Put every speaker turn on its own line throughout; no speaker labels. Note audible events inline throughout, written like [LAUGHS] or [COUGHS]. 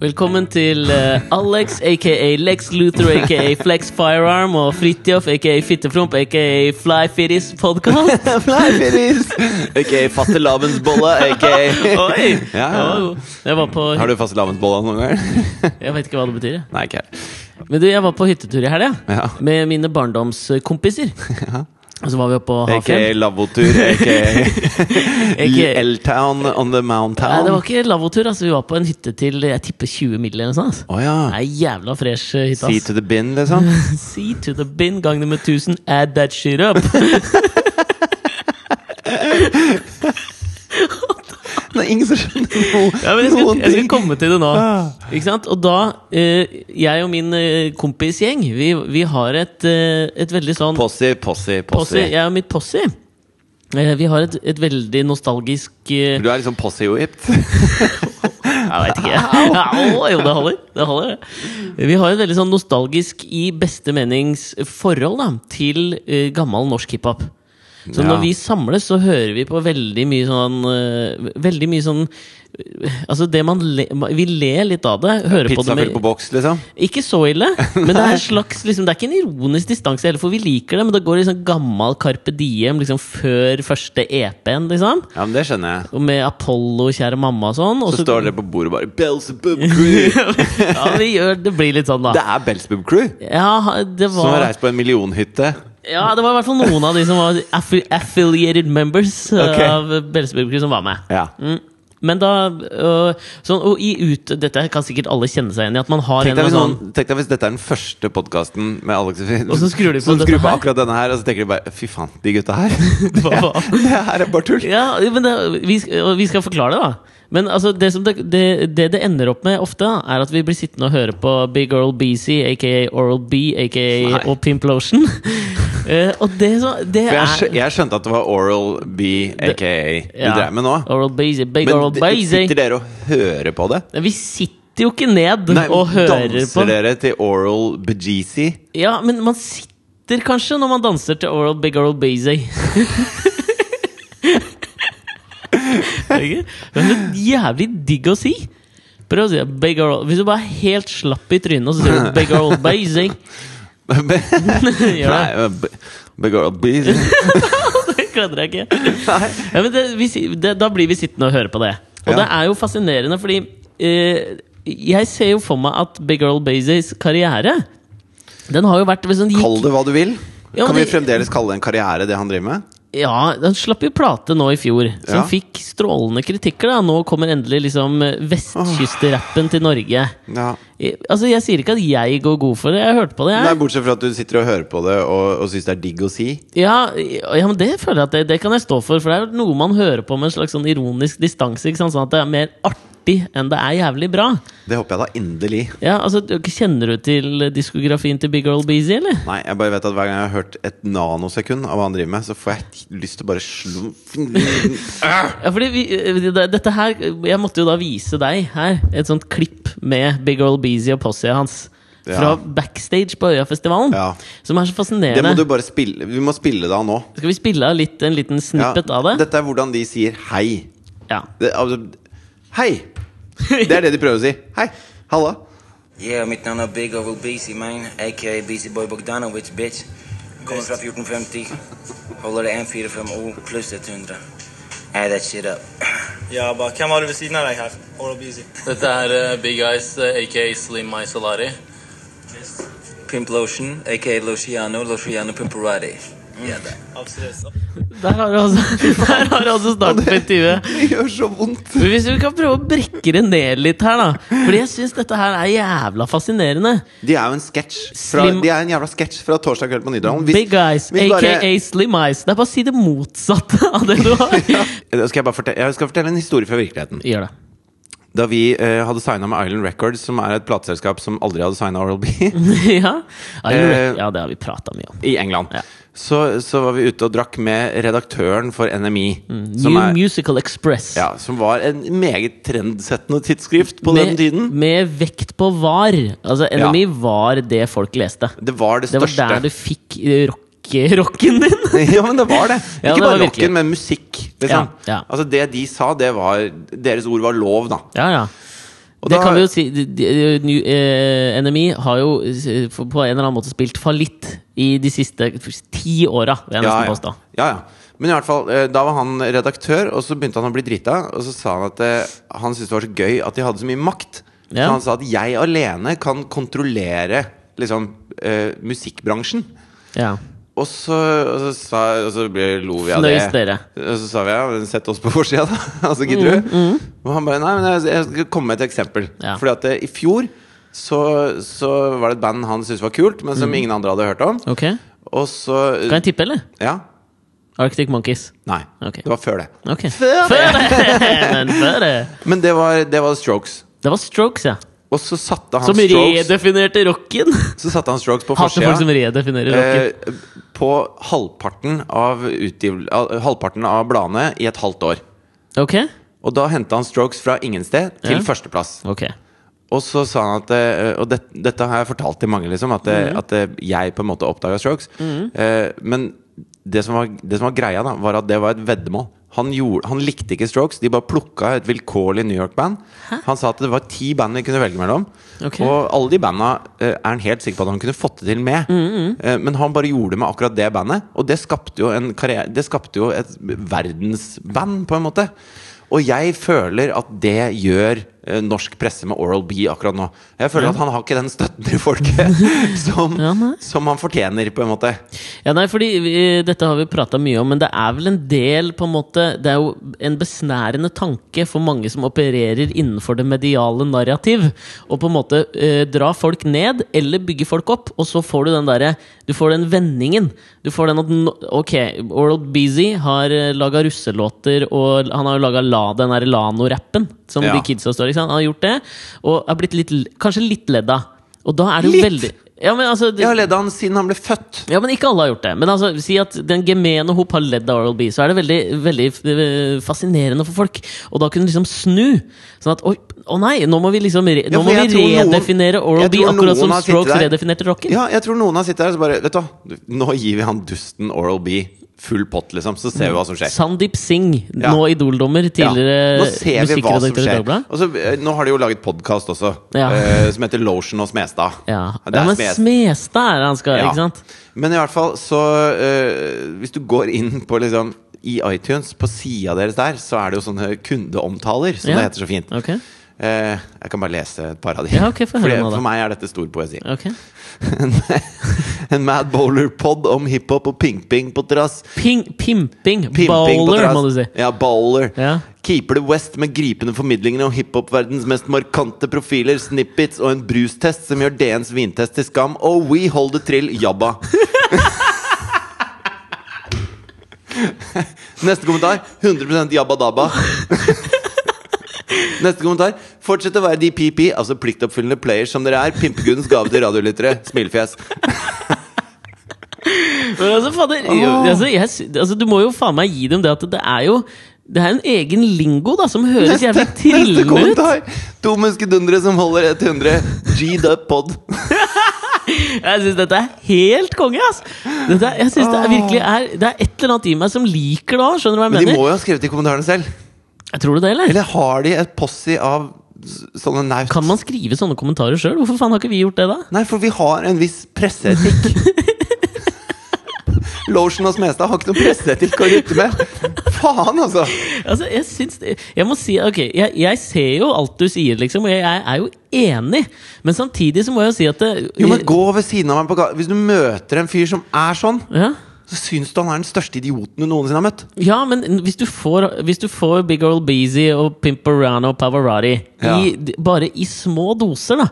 Velkommen til eh, Alex, aka Lex Luther, aka Flex Firearm, og Fridtjof, aka Fittefromp, aka Fly Fitties podkast.
[LAUGHS] Fly Fitties! Aka fastelavnsbolle, aka
Oi!
Ja, ja.
Jeg var på
[LAUGHS] Har du fastelavnsbolle noen gang? [LAUGHS]
Jeg vet ikke hva det betyr. jeg.
Nei, ikke helt.
Men du, jeg var på hyttetur i helga
Ja.
med mine barndomskompiser. Og så var vi oppe på
Aka
Hafjell.
lavvotur,
[LAUGHS]
aka
Aka-
L-town on the mountain.
Nei, det var ikke lavvotur. Altså, vi var på en hytte til jeg tipper 20 mil eller noe sånt. altså.
Å ja.
Det er jævla fresh eh, hytte.
See
ass.
to the bin,
[LAUGHS]
liksom?
See to the bin gang nummer 1000. Add that shit up.
Det er ingen som skjønner noe.
Ja, men jeg skal,
noen
jeg skal
ting.
komme til det nå.
Ah.
Ikke sant? Og da eh, Jeg og min eh, kompisgjeng, vi, vi har et, eh, et veldig sånn
Posse, posse,
posse.
posse.
Jeg og mitt posse. Eh, vi har et, et veldig nostalgisk eh,
Du er liksom posse-whipped.
Jeg veit ikke. [LAUGHS] Au, jo, det holder. Det holder. det. Vi har et veldig sånn nostalgisk, i beste menings, forhold da, til eh, gammel norsk hiphop. Så
Ja.
når vi samles, så hører vi på veldig mye sånn eh, Veldig mye sånn eh, Altså, det man le, Vi ler litt av det. Hører på
Pizza
det
full på
med
boks, liksom.
Ikke så ille, men
[LAUGHS]
det er, en slags, liksom, det er ikke en ironisk distanse heller, for vi liker det, men det går i sånn gammel Carpe Diem liksom, før første EP-en, liksom.
Ja, men det skjønner jeg.
Og med Apollo, kjære mamma og sånn. Og
Så står dere på bordet og bare Belzebub Crew!
[LAUGHS] ja, vi gjør, det blir litt sånn,
Det
da.
er Belzebub Crew!
Ja, det
Som har
var
reist på en millionhytte.
Ja, det var i hvert fall noen av de som var affi affiliated members uh,
Ok.
av Bellesburg som var med.
Ja.
Mm. Men da øh, sånn, Og i ut Dette kan sikkert alle kjenne seg igjen i. At man har en
Tenk deg,
eller
hvis
annen
noen, tenk deg hvis dette er den første podkasten med Alex og Finn.
Og så skrur de på
som
dette
skrur
her.
akkurat denne her, og så tenker de bare Fy faen, de gutta her.
[LAUGHS]
[LAUGHS]
Hva faen?
det her er bare tull.
Ja, men det, vi, sk- og vi skal forklare det, da. Men altså, det, som det, det, det det ender opp med ofte, da, er at vi blir sittende og høre på Big Oral BC, aka Oral B, aka
Nei.
og Pimplotion. [LAUGHS] Eh, og det, så, det
For jeg, skjø-
er
jeg skjønte at det var Oral B, aka du
Ja.
drev med nå.
Oral BC, Big
Men
Oral
d-
BC.
sitter dere og hører på det?
Nei, Vi sitter jo ikke ned
Nei,
og hører
danser
på.
dere til Oral
[LAUGHS]
Bejeezy?
Ja, men man sitter kanskje når man danser til Oral Big Oral [LAUGHS] Bazy. men det er jævlig digg å si. Prøv å si Big Oral Hvis du bare er helt slapp i trynet, og så
[LAUGHS]
sier du Big Oral Bazy Gjør det.
Nei, b- Big Oral
[LAUGHS]
Bejeezy.
Det klarer jeg ikke. Ja, men det, vi, si- det, da blir vi sittende og høre på det. Og
Ja.
det er jo fascinerende, fordi eh, jeg ser jo for meg at Big Oral Bazys karriere den har jo vært sånn, gikk,
Kall det hva du vil.
Ja,
kan
men
vi
det-
fremdeles kalle det en karriere, det han driver med?
Ja, den slapp jo plate nå i fjor, som
Ja.
fikk strålende kritikker. da Nå kommer endelig liksom vestkystrappen til Norge.
Ja.
Eh, Altså, Jeg sier ikke at jeg går god for det, jeg hørte på det.
Nei,
Jeg.
Bortsett fra at du sitter og hører på det og, og syns det er digg å si.
Ja, ja, men Det føler jeg at det, det kan jeg stå for, for det er jo noe man hører på med en slags sånn ironisk distanse. ikke sant? Sånn at det er mer artig enn det er jævlig bra.
Det håper jeg da inderlig.
Ja, altså, du- Kjenner du til diskografien til Big Oral Beezy, eller?
Nei, jeg bare vet at Hver gang jeg har hørt et nanosekund av hva han driver med, så får jeg lyst til å bare slå
Ja, fordi vi, eh, det- dette her Jeg måtte jo da vise deg her et sånt klipp med Big Oral Beezy og possia hans. Fra
Ja.
backstage på Øyafestivalen.
[LAUGHS] Ja.
Som er så
Det må
fascinerende.
du bare spille Vi må spille det av nå.
Skal vi spille av litt, en liten
Ja,
snippet av det?
Dette er hvordan de sier hei.
Ja.
Det, altså, hei! Det er det de prøver å si. Hei! Halla!
Yeah, mitt navn er Big Over BC, man. A.k.a. BC Boy Bogdanovic, bitch. Kommer fra 1450. Holder det 145 O pluss 100. Add that shit up.
Ja, bare hvem har du ved siden av deg her? Oral-Beezy.
Dette er eh, Big Eyes, eh, aka Slim Mai Solari.
Pimp Lotion, a.k.a. Lociano, Lociano Pimperati. Yeah, that.
Absolutt.
Der har du altså, [LAUGHS] der har du altså starten på intervjuet.
Det gjør så vondt.
Men Hvis vi kan prøve å brekke det ned litt her, da. Fordi jeg syns dette her er jævla fascinerende.
De er jo en sketsj. fra-
Slim-
De er en jævla sketsj fra Torsdag kveld på Nydalen. Hvis-
Big Eyes,
hvis bare-
aka Slim Eyes. Det er bare å si det motsatte av det du
[LAUGHS]
har.
Da Eh, Skal jeg, bare fortelle, jeg skal fortelle en historie fra virkeligheten.
Gjør det. [LAUGHS]
Da vi eh, hadde signa med Island Records, som er et plateselskap som aldri hadde signa Oral B,
ja. Ja, jo,
Eh,
ja, det har vi prata mye om.
i England.
Ja.
Så, så var vi ute og drakk med redaktøren for NMI. som,
Mm. New
er,
Musical Express.
ja, som var en meget trendsettende tidsskrift på den
med,
tiden.
med vekt på var. Altså, NMI var det folk leste.
Det var det
Det var
største.
der du fikk eh, rocke- [LAUGHS] rocken din.
[LAUGHS] ja, men det var det.
[LAUGHS]
Ikke
Ja, det var
bare
virkelig.
rocken, men musikk. Liksom.
Ja, ja.
Altså Det de sa, det var Deres ord var lov, da.
ja, ja.
Og
det
da-
kan vi jo si de- de- New- eh, NMI har jo eh, for- på en eller annen måte spilt fallitt i de siste ti åra. vil jeg nesten påstå.
ja, ja. Men i hvert fall, eh, da var han redaktør, og så begynte han å bli drita. Og så sa han at eh, han syntes det var så gøy at de hadde så mye makt.
Ja.
Så han sa at jeg alene kan kontrollere liksom, eh, musikkbransjen.
Ja.
Og så, og så, sa, og så ble, lo vi av det.
Fnøys dere.
Og så sa vi ja, men sett oss på forsida, da. [LAUGHS] altså, gidder du? Og han bare nei, men jeg, jeg skal komme med et eksempel.
Mm, Ja.
Fordi at eh, i fjor så, så var det et band han syntes var kult, men
Mm.
som ingen andre hadde hørt om.
Ok Kan
Og så
jeg tippe, eller?
Ja.
Arctic Monkeys.
Nei.
Ok.
Det var før det.
Ok Før det! [LAUGHS] Men før det!
Men det var, det var Strokes.
Det var Strokes, ja.
Og så satte han
Som
Strokes
redefinerte rocken!
Så satte han Strokes på
Hater folk som
forsida.
redefinerer rocken.
Eh, på halvparten av, utgivel, al- halvparten av bladene i et halvt år.
Ok?
Og da henta han Strokes fra ingen sted til
Ja.
førsteplass.
Ok
Og så sa han at eh, Og det, dette har jeg fortalt til mange, liksom, at,
Mm.
eh, at eh, jeg på en måte oppdaga Strokes. Eh, men det som, var, det som var greia, da, var at det var et veddemål. Han, gjorde, han likte ikke Strokes. De bare plukka et vilkårlig New York-band. Han sa at det var ti band vi kunne velge mellom.
Ok.
Og alle de banda eh, er han helt sikker på at han kunne fått det til med.
Mm,
Eh, men han bare gjorde det med akkurat det bandet. Og det skapte jo, en karriere, det skapte jo et verdensband, på en måte. Og jeg føler at det gjør eh, norsk presse med Oral B akkurat nå. Jeg føler at han har ikke den støtten til
[LAUGHS]
folket som,
Ja, nei.
som han fortjener, på en måte.
Ja, nei, fordi vi, Dette har vi prata mye om, men det er vel en del på en måte Det er jo en besnærende tanke for mange som opererer innenfor det mediale narrativ. Å på en måte eh, dra folk ned, eller bygge folk opp. Og så får du den derre Du får den vendingen. Du får den at no- Ok, Oral Beezy har laga russelåter, og han har jo laga la, den derre Lano-rappen. Som
Ja.
de kidsa står i. ikke sant? Han har gjort det, og er blitt litt, kanskje litt ledd av. Og da er det jo
Litt?
veldig ja, men altså, det-
Jeg har ledd av han siden han ble født.
ja, men ikke alle har gjort det. Men altså, si at den gemene hop har ledd av Oral B, så er det veldig, veldig eh, fascinerende for folk. Og da kunne du liksom snu. Sånn at Oi, å nei, nå må vi liksom re
Ja,
Nå
for
må vi
jeg tror noen-
redefinere Oral
jeg
B,
tror noen
akkurat som
har sittet
Strokes
der.
redefinerte rocken.
Ja, jeg tror noen har sittet der og så bare Vet du hva, nå gir vi han dusten Oral B full pott, liksom, så ser vi hva som skjer.
Sandeep Singh,
Ja.
nå Idol-dommer,
Ja.
tidligere
Nå ser vi hva som
musikkredaktør i
skjer.
Dagbladet.
Og så, eh, nå har de jo laget podkast også,
Ja.
eh, som heter Lotion og Smestad.
Ja.
Det er
ja, men
Smes-
Smestad er det han skal,
Ja.
ikke sant?
Men i hvert fall, så eh, Hvis du går inn på liksom i iTunes, på sida deres der, så er det jo sånne kundeomtaler, som
Ja.
det heter så fint.
Ok,
Eh, jeg kan bare lese et par av de.
Ja, ok, få høre
Fordi
nå da.
for meg er dette stor poesi.
ok
En Mad Bowler-pod om hiphop og pingping på terrass.
Ping, Pimping.
Pimping på
Bowler,
terrass.
må du si.
Ja, bowler.
Ja.
Keeper det West med gripende formidlinger om hiphop-verdens mest markante profiler, snippets og en brustest som gjør DNs vintest til skam. Og we hold the trill, jabba. [LAUGHS] Neste kommentar 100 jabba dabba. [LAUGHS] Neste kommentar. Fortsett å være de PP, altså pliktoppfyllende players som dere er. Pimpeguddens gave til radiolyttere. Smilefjes.
Men altså, fader, jo, altså, jeg, sy- altså, du må jo faen meg gi dem det at det er jo Det er en egen lingo da som høres jævlig
Neste
trillende ut.
kommentar. To muskedundere som holder 100. G'd up pod.
Jeg syns dette er helt konge, ass! Dette, er- jeg synes det er virkelig er Det er et eller annet i meg som liker det òg, skjønner du hva jeg
Men de
mener?
må jo ha skrevet i kommentarene selv.
Jeg tror du det, eller?
Eller har de et possi av s- sånne naut?
Kan man skrive sånne kommentarer sjøl? Hvorfor faen har ikke vi gjort det, da?
Nei, for vi har en viss
[LAUGHS]
presseetikk. Lotion og Smestad har ikke noen presseetikk å rutte med. Faen, altså!
Altså, jeg syns det, Jeg må si Ok, jeg, jeg ser jo alt du sier, liksom, og jeg, jeg er jo enig, men samtidig så må jeg jo si at det,
Jo, men Gå ved siden av meg på ga Hvis du møter en fyr som er sånn,
ja?
så syns du han er den største idioten du noensinne har møtt.
Ja, men hvis du får, hvis du får Big Old Beezy og Pimperano og Pavarotti i,
Ja.
d- bare i små doser, da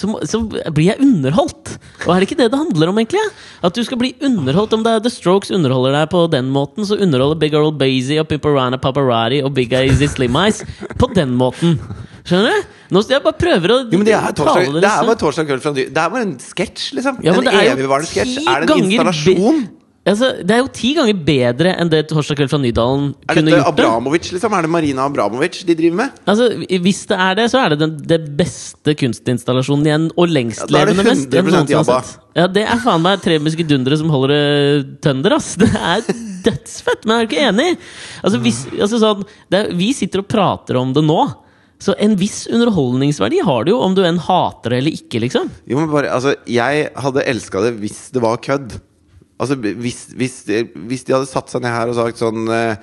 så, må- så blir jeg underholdt. Og er det ikke det det handler om, egentlig? At du skal bli underholdt. Om det er The Strokes underholder deg på den måten, så underholder Big Old Beezy og Pimperano Pavarotti og Big Easy Slim Eyes på den måten. Skjønner du? Nå, jeg bare prøver å
Jo, men Det er, torsdag,
tale
det er bare
liksom.
torsdag kveld fra ny Det er bare en sketsj, liksom.
Ja, men
en
det er jo
evigvarende sketsj.
ti
Er det en
ganger
installasjon?
altså, det er jo ti ganger bedre enn det Torsdag kveld fra Nydalen
Er
kunne
dette
gjort. det.
Abramovic, liksom? Er det Marina Abramovic de driver med?
Altså, Hvis det er det, så er det den det beste kunstinstallasjonen igjen. Og
Ja, da er det
lengstlevende mest. enn
100%
noen som har
jabba.
sett. Ja, Det er faen meg tre muskedundere som holder det tønder, ass. Det er dødsfett, men jeg er ikke enig. Altså, hvis, altså sånn, det er, Vi sitter og prater om det nå. Så en viss underholdningsverdi har det jo, om du enn hater det eller ikke, liksom.
Jo, men bare, altså, jeg hadde elska det hvis det var kødd. Altså, hvis, hvis, hvis de hadde satt seg ned her og sagt sånn eh,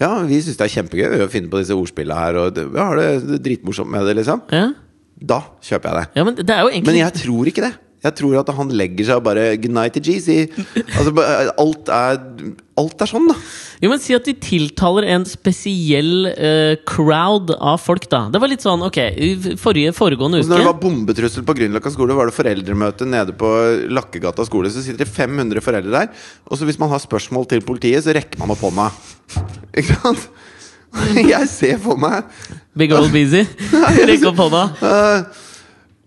Ja, vi syns det er kjempegøy å finne på disse ordspillene her, og det- vi har det, det er dritmorsomt med det, liksom.
Ja,
Da kjøper jeg det.
ja men det er jo egentlig
Men jeg tror ikke det. Jeg tror at han legger seg og bare Good night to Jeezy. Altså, ba- alt, er, alt er sånn, da.
Jo, men Si at de tiltaler en spesiell eh, crowd av folk, da. Det var litt sånn, ok, i forrige, foregående
Så når det
uke
var bombetrussel på Grünerløkka skole, var det foreldremøte nede på Lakkegata skole. Så sitter det 500 foreldre der, og så hvis man har spørsmål til politiet, så rekker man opp hånda. Ikke sant? [LAUGHS] Jeg ser for meg
Big Old [LAUGHS] Busy. Rekk opp hånda.
eh,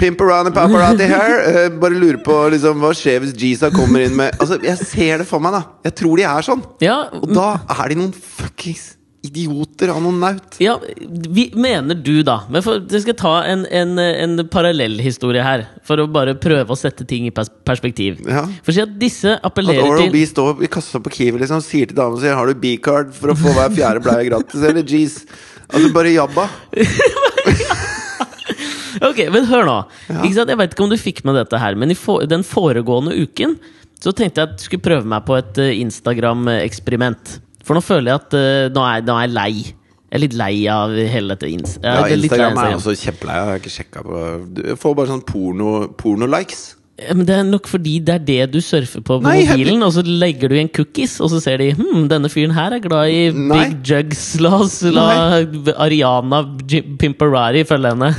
Pimp around and paparazzi her. eh, bare lurer på liksom, hva skjer hvis Jeeza kommer inn med Altså, Jeg ser det for meg, da. Jeg tror de er sånn.
Ja,
Og da er de noen fuckings idioter av noen naut.
ja, vi, mener du, da Men for, Jeg skal ta en, en, en parallellhistorie her, for å bare prøve å sette ting i pers perspektiv.
Ja.
For si at disse
At
appellerer
Oral
til
B står i kassa på Kiwi liksom, og sier til damen sin Har du B-card for å få hver fjerde bleie gratis, eller jeez? Altså, bare jabba.
Ok, men hør nå. Ikke sant? Jeg vet ikke om du fikk med dette her, men i for, den foregående uken så tenkte jeg at jeg skulle prøve meg på et eh, Instagram-eksperiment. For nå føler jeg at eh, nå, er, nå er jeg lei. Jeg er litt lei av hele dette ins jeg
Ja,
er litt lei av
Instagram er også kjempelei. Jeg har ikke sjekket på Du får bare sånn porno-likes.
Ja, Men det er nok fordi det er det du surfer på på
Nei, jeg-
mobilen, og så legger du igjen cookies, og så ser de hm, denne fyren her er glad i
Nei.
big jugs. La oss la Ariana J- Pimperari følge
[LAUGHS]
henne.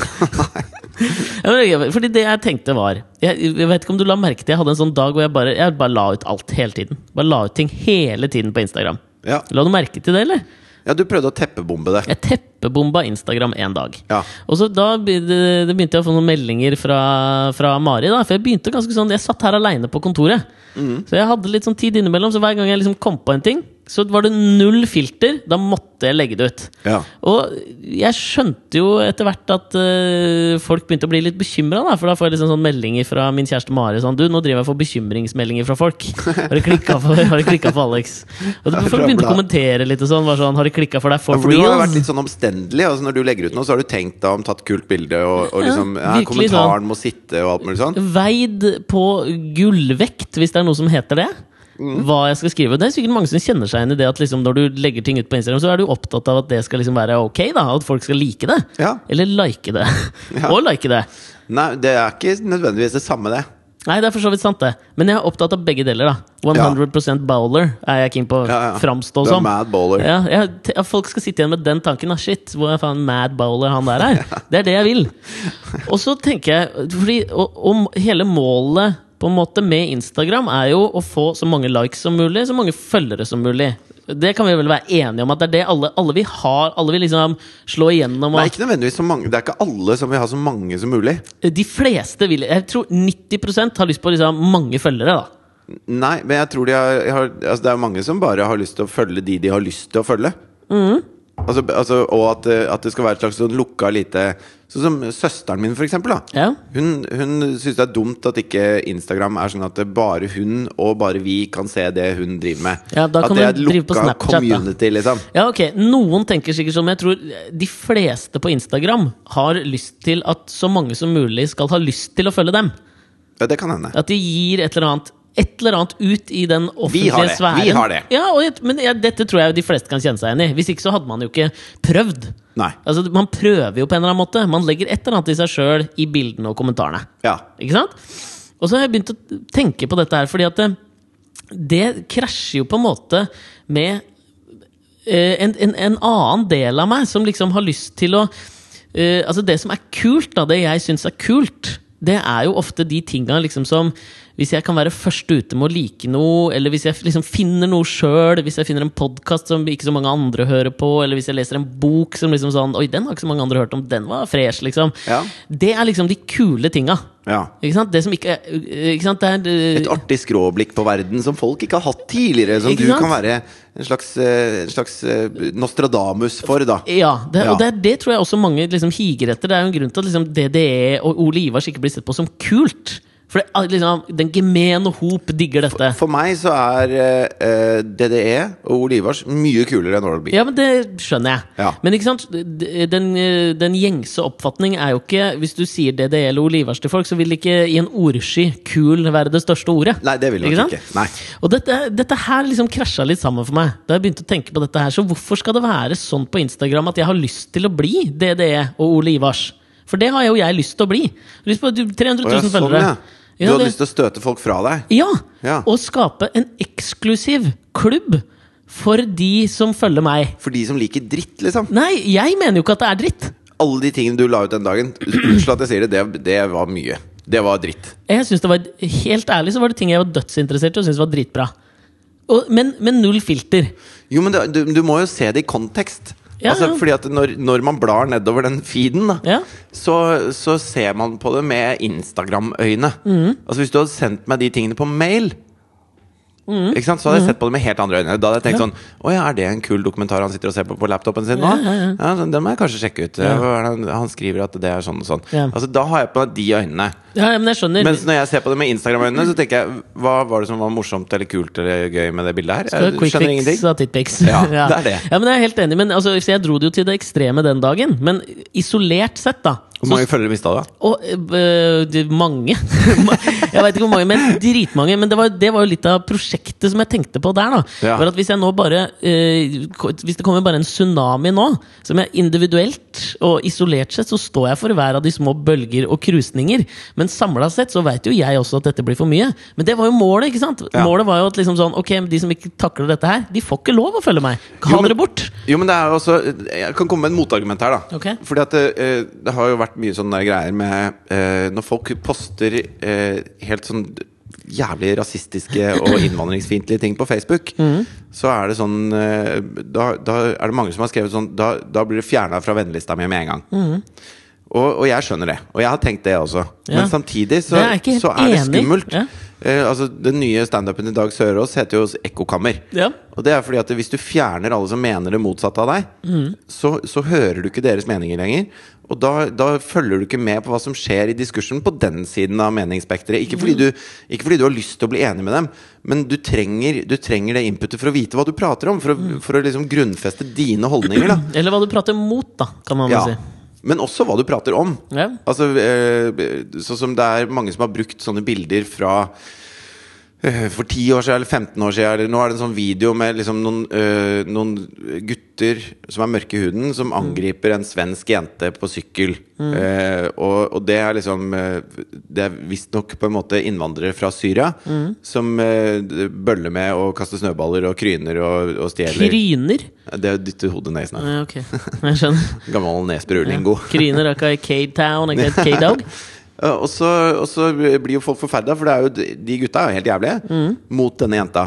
Ja, men jeg- Fordi det jeg tenkte var jeg, jeg vet ikke om du la merke til Jeg hadde en sånn dag hvor jeg bare, jeg bare la ut alt hele tiden. Bare la ut ting hele tiden på Instagram.
ja.
La du merke til det, eller?
ja, du prøvde å teppebombe det.
Jeg teppebomba Instagram en dag.
Ja.
Og så da be- det- det begynte jeg å få noen meldinger fra, fra Mari. da For jeg begynte ganske sånn Jeg satt her aleine på kontoret.
Mm.
Så jeg hadde litt sånn tid innimellom. Så hver gang jeg liksom kom på en ting, så var det null filter. Da måtte jeg legge det ut.
Ja.
Og jeg skjønte jo etter hvert at eh, folk begynte å bli litt bekymra. For da får jeg liksom sånn meldinger fra min kjæreste Mari sånn Du, nå driver jeg og får bekymringsmeldinger fra
[LAUGHS]
folk. Har du klikka for, har du klikket for Alex? Og det, folk begynte å kommentere litt og sånn. Var sånn har du klikka for deg for,
Ja, for du
reals?
har jo vært litt sånn omstendelig. Altså når du legger ut noe, så har du tenkt deg om, tatt kult bilde, og, og liksom ja,
virkelig
Kommentaren må sitte, og alt mulig sånn.
Veid på gullvekt, hvis det er noe som heter det.
Mm.
Hva jeg skal skrive Det er sikkert mange som kjenner seg igjen i det at liksom når du legger ting ut på Instagram, så er du opptatt av at det skal liksom være ok. da At folk skal like det.
Ja.
Eller like det.
[LAUGHS] Ja.
Og like det.
Nei, det er ikke nødvendigvis det samme, det.
Nei, det er for så vidt sant, det. Men jeg er opptatt av begge deler. da 100 bowler er jeg keen på å
Ja, ja.
framstå
Du er
som.
mad bowler.
Ja, jeg, t- at folk skal sitte igjen med den tanken. Ah, shit, hvor er faen mad bowler han der er? Det er det jeg vil. Og så tenker jeg fordi, og, og hele målet på en måte med Instagram er jo å få så mange likes som mulig, så mange følgere som mulig. Det kan vi vel være enige om at det er det alle, alle vi har. Alle vil liksom slå igjennom.
Nei,
Og,
ikke nødvendigvis så mange. Det er ikke alle som vil ha så mange som mulig.
de fleste vil Jeg tror 90 har lyst på liksom mange følgere. da
Nei, men jeg tror de har, har altså Det er mange som bare har lyst til å følge de de har lyst til å følge.
Mm.
Altså, altså, og at, det- at det skal være et slags sånn lukka lite Sånn som søsteren min, for eksempel. Da.
Ja.
Hun, hun syns det er dumt at ikke Instagram er sånn at det bare hun og bare vi kan se det hun driver med.
Ja, da
at
kan
det er
hun drive på Snapchat, da.
community, liksom.
Ja, ok. Noen tenker sikkert som jeg tror eh, de fleste på Instagram har lyst til at så mange som mulig skal ha lyst til å følge dem.
Ja, det kan hende.
At de gir et eller annet et eller annet ut i den offentlige
Vi har det. Vi
sfæren.
har det.
Ja, og, jeg- men jeg- dette tror jeg de fleste kan kjenne seg igjen i. Hvis ikke så hadde man jo ikke prøvd.
Nei.
Altså, Man prøver jo på en eller annen måte. Man legger et eller annet i seg sjøl i bildene og kommentarene.
Ja.
Ikke sant? Og så har jeg begynt å tenke på dette her, fordi at det, det krasjer jo på en måte med eh, en, en, en annen del av meg som liksom har lyst til å eh, Altså, det som er kult, da, det jeg syns er kult, det er jo ofte de tinga liksom som Hvis jeg kan være først ute med å like noe, eller hvis jeg liksom finner noe sjøl, hvis jeg finner en podkast som ikke så mange andre hører på, eller hvis jeg leser en bok som liksom sånn Oi, den har ikke så mange andre hørt om, den var fresh, liksom.
Ja.
Det er liksom de kule tinga.
ja.
Ikke sant? Det som ikke er ikke sant? Det er, eh,
Et artig skråblikk på verden som folk ikke har hatt tidligere. Som
Ikke
du
sant?
kan være en slags, eh, en slags eh, Nostradamus for, da.
ja, det,
Ja.
og det, er- det tror jeg også mange liksom, higer etter. Det er jo en grunn til at liksom, DDE og Ole Ivars ikke blir sett på som kult. For det, er liksom, den gemene hop digger dette.
For meg så er eh, eh, DDE og Ole Ivars mye kulere enn Oral B.
Ja, men det skjønner jeg.
Ja.
Men ikke sant, D- den, eh, den gjengse oppfatning er jo ikke Hvis du sier DDE eller Olivers til folk, så vil ikke i en ordsky 'kul' være det største ordet.
Nei, det vil jeg nok
sant?
ikke. Nei.
Og dette, dette her liksom krasja litt sammen for meg. Da jeg begynte å tenke på dette her Så hvorfor skal det være sånn på Instagram at jeg har lyst til å bli DDE og Ole Ivars? For det har jo jeg lyst til å bli. Jeg har Lyst på du, 300 000
Å, ja, sånn,
følgere.
ja. Du hadde
det-
lyst til å støte folk fra deg?
ja,
Ja.
og skape en eksklusiv klubb for de som følger meg.
For de som liker dritt, liksom.
Nei, jeg mener jo ikke at det er dritt.
Alle de tingene du la ut den dagen. Unnskyld at jeg sier det, det, det var mye. Det var dritt.
Jeg synes det var, Helt ærlig så var det ting jeg var dødsinteressert i og syntes var dritbra. Og, men, men null filter.
Jo, men det, du, du må jo se det i kontekst.
Ja,
altså,
ja.
Fordi at når, når man blar nedover den feeden, da,
Ja.
så, så ser man på det med Instagram-øyne.
Mm.
Altså Hvis du hadde sendt meg de tingene på mail
Mm.
Ikke sant? Så hadde jeg sett på det med helt andre øyne. Da hadde jeg tenkt sånn Å ja, er det en kul dokumentar han sitter og ser på på laptopen sin nå? Ja, så den må jeg kanskje sjekke ut. Hva er det Han, han skriver at det er sånn og sånn.
Ja.
Altså Da har jeg på meg de øynene.
Ja, men jeg skjønner.
Mens når jeg ser på det med Instagram-øynene, så tenker jeg Hva var det som var morsomt eller kult eller gøy med det bildet her?
Skal ha
Jeg
quick
skjønner
fix
ingenting.
og titpics. [LAUGHS]
Ja, det er det.
Ja, men jeg er helt enig. Men, altså, så jeg dro det jo til det ekstreme den dagen. Men isolert sett, da
Hvor mange følgere mista du? da?
Og øh, det- mange. [LAUGHS] jeg veit ikke hvor mange, men dritmange. Men det var, det var jo litt av prosjektet som jeg tenkte på der. da
Ja.
Var at Hvis jeg nå bare øh, ko- Hvis det kommer bare en tsunami nå, som jeg individuelt og isolert sett, så står jeg for hver av de små bølger og krusninger. Men samla sett så veit jo jeg også at dette blir for mye. Men det var jo målet. ikke sant?
Ja.
Målet var jo at liksom sånn Ok, men de som ikke takler dette her, de får ikke lov å følge meg. Ha
Jo, men-
dere bort!
Jo, men det er jo også Jeg kan komme med et motargument her, da.
Ok.
Fordi at det, eh, det har jo vært mye sånne greier med eh, Når folk poster eh, helt sånn jævlig rasistiske
[CLEARS THROAT]
og innvandringsfiendtlige ting på Facebook,
Mhm.
så er det sånn eh, da, da er det mange som har skrevet sånn Da, da blir det fjerna fra vennelista mi med en gang. Og, og jeg skjønner det. Og jeg har tenkt det også.
Mhm. Ja.
Men samtidig så,
Det er jeg ikke helt
så er det
enig i.
skummelt.
Ja.
Eh, altså, den nye standupen i Dag Sørås heter jo Ekkokammer.
Ja.
Og det er fordi at hvis du fjerner alle som mener det motsatte av deg, så, så hører du ikke deres meninger lenger. Og da, da følger du ikke med på hva som skjer i diskursen på den siden av meningsspekteret. Ikke, fordi du- ikke fordi du har lyst til å bli enig med dem, men du trenger, du trenger det inputet for å vite hva du prater om. For å, for å liksom grunnfeste dine holdninger. Da.
Eller hva du prater mot, da, kan man vel
Ja.
si.
Men også hva du prater om.
Ja.
Altså, eh, sånn som det er mange som har brukt sånne bilder fra eh, for 10 år siden eller 15 år siden. Eller, nå er det en sånn video med liksom noen, eh, noen gutter som er mørke i huden, som
Mm.
angriper en svensk jente på sykkel. Eh, og, og det er liksom eh, Det er visstnok på en måte innvandrere fra Syria
Mm.
som eh, bøller med og kaster snøballer og kryner og, og stjeler.
Kryner.
Det er å dytte hodet ned i snø.
Ja, Eh, Ok, jeg skjønner.
Gammel
[LAUGHS]
Nesbru-lingo.
Kryner er ikke K-Town, ikke
[LAUGHS]
K-Dog.
Ja, Og så, og så blir jo folk forferda, for det er jo, de- de gutta er jo helt jævlige mot denne jenta.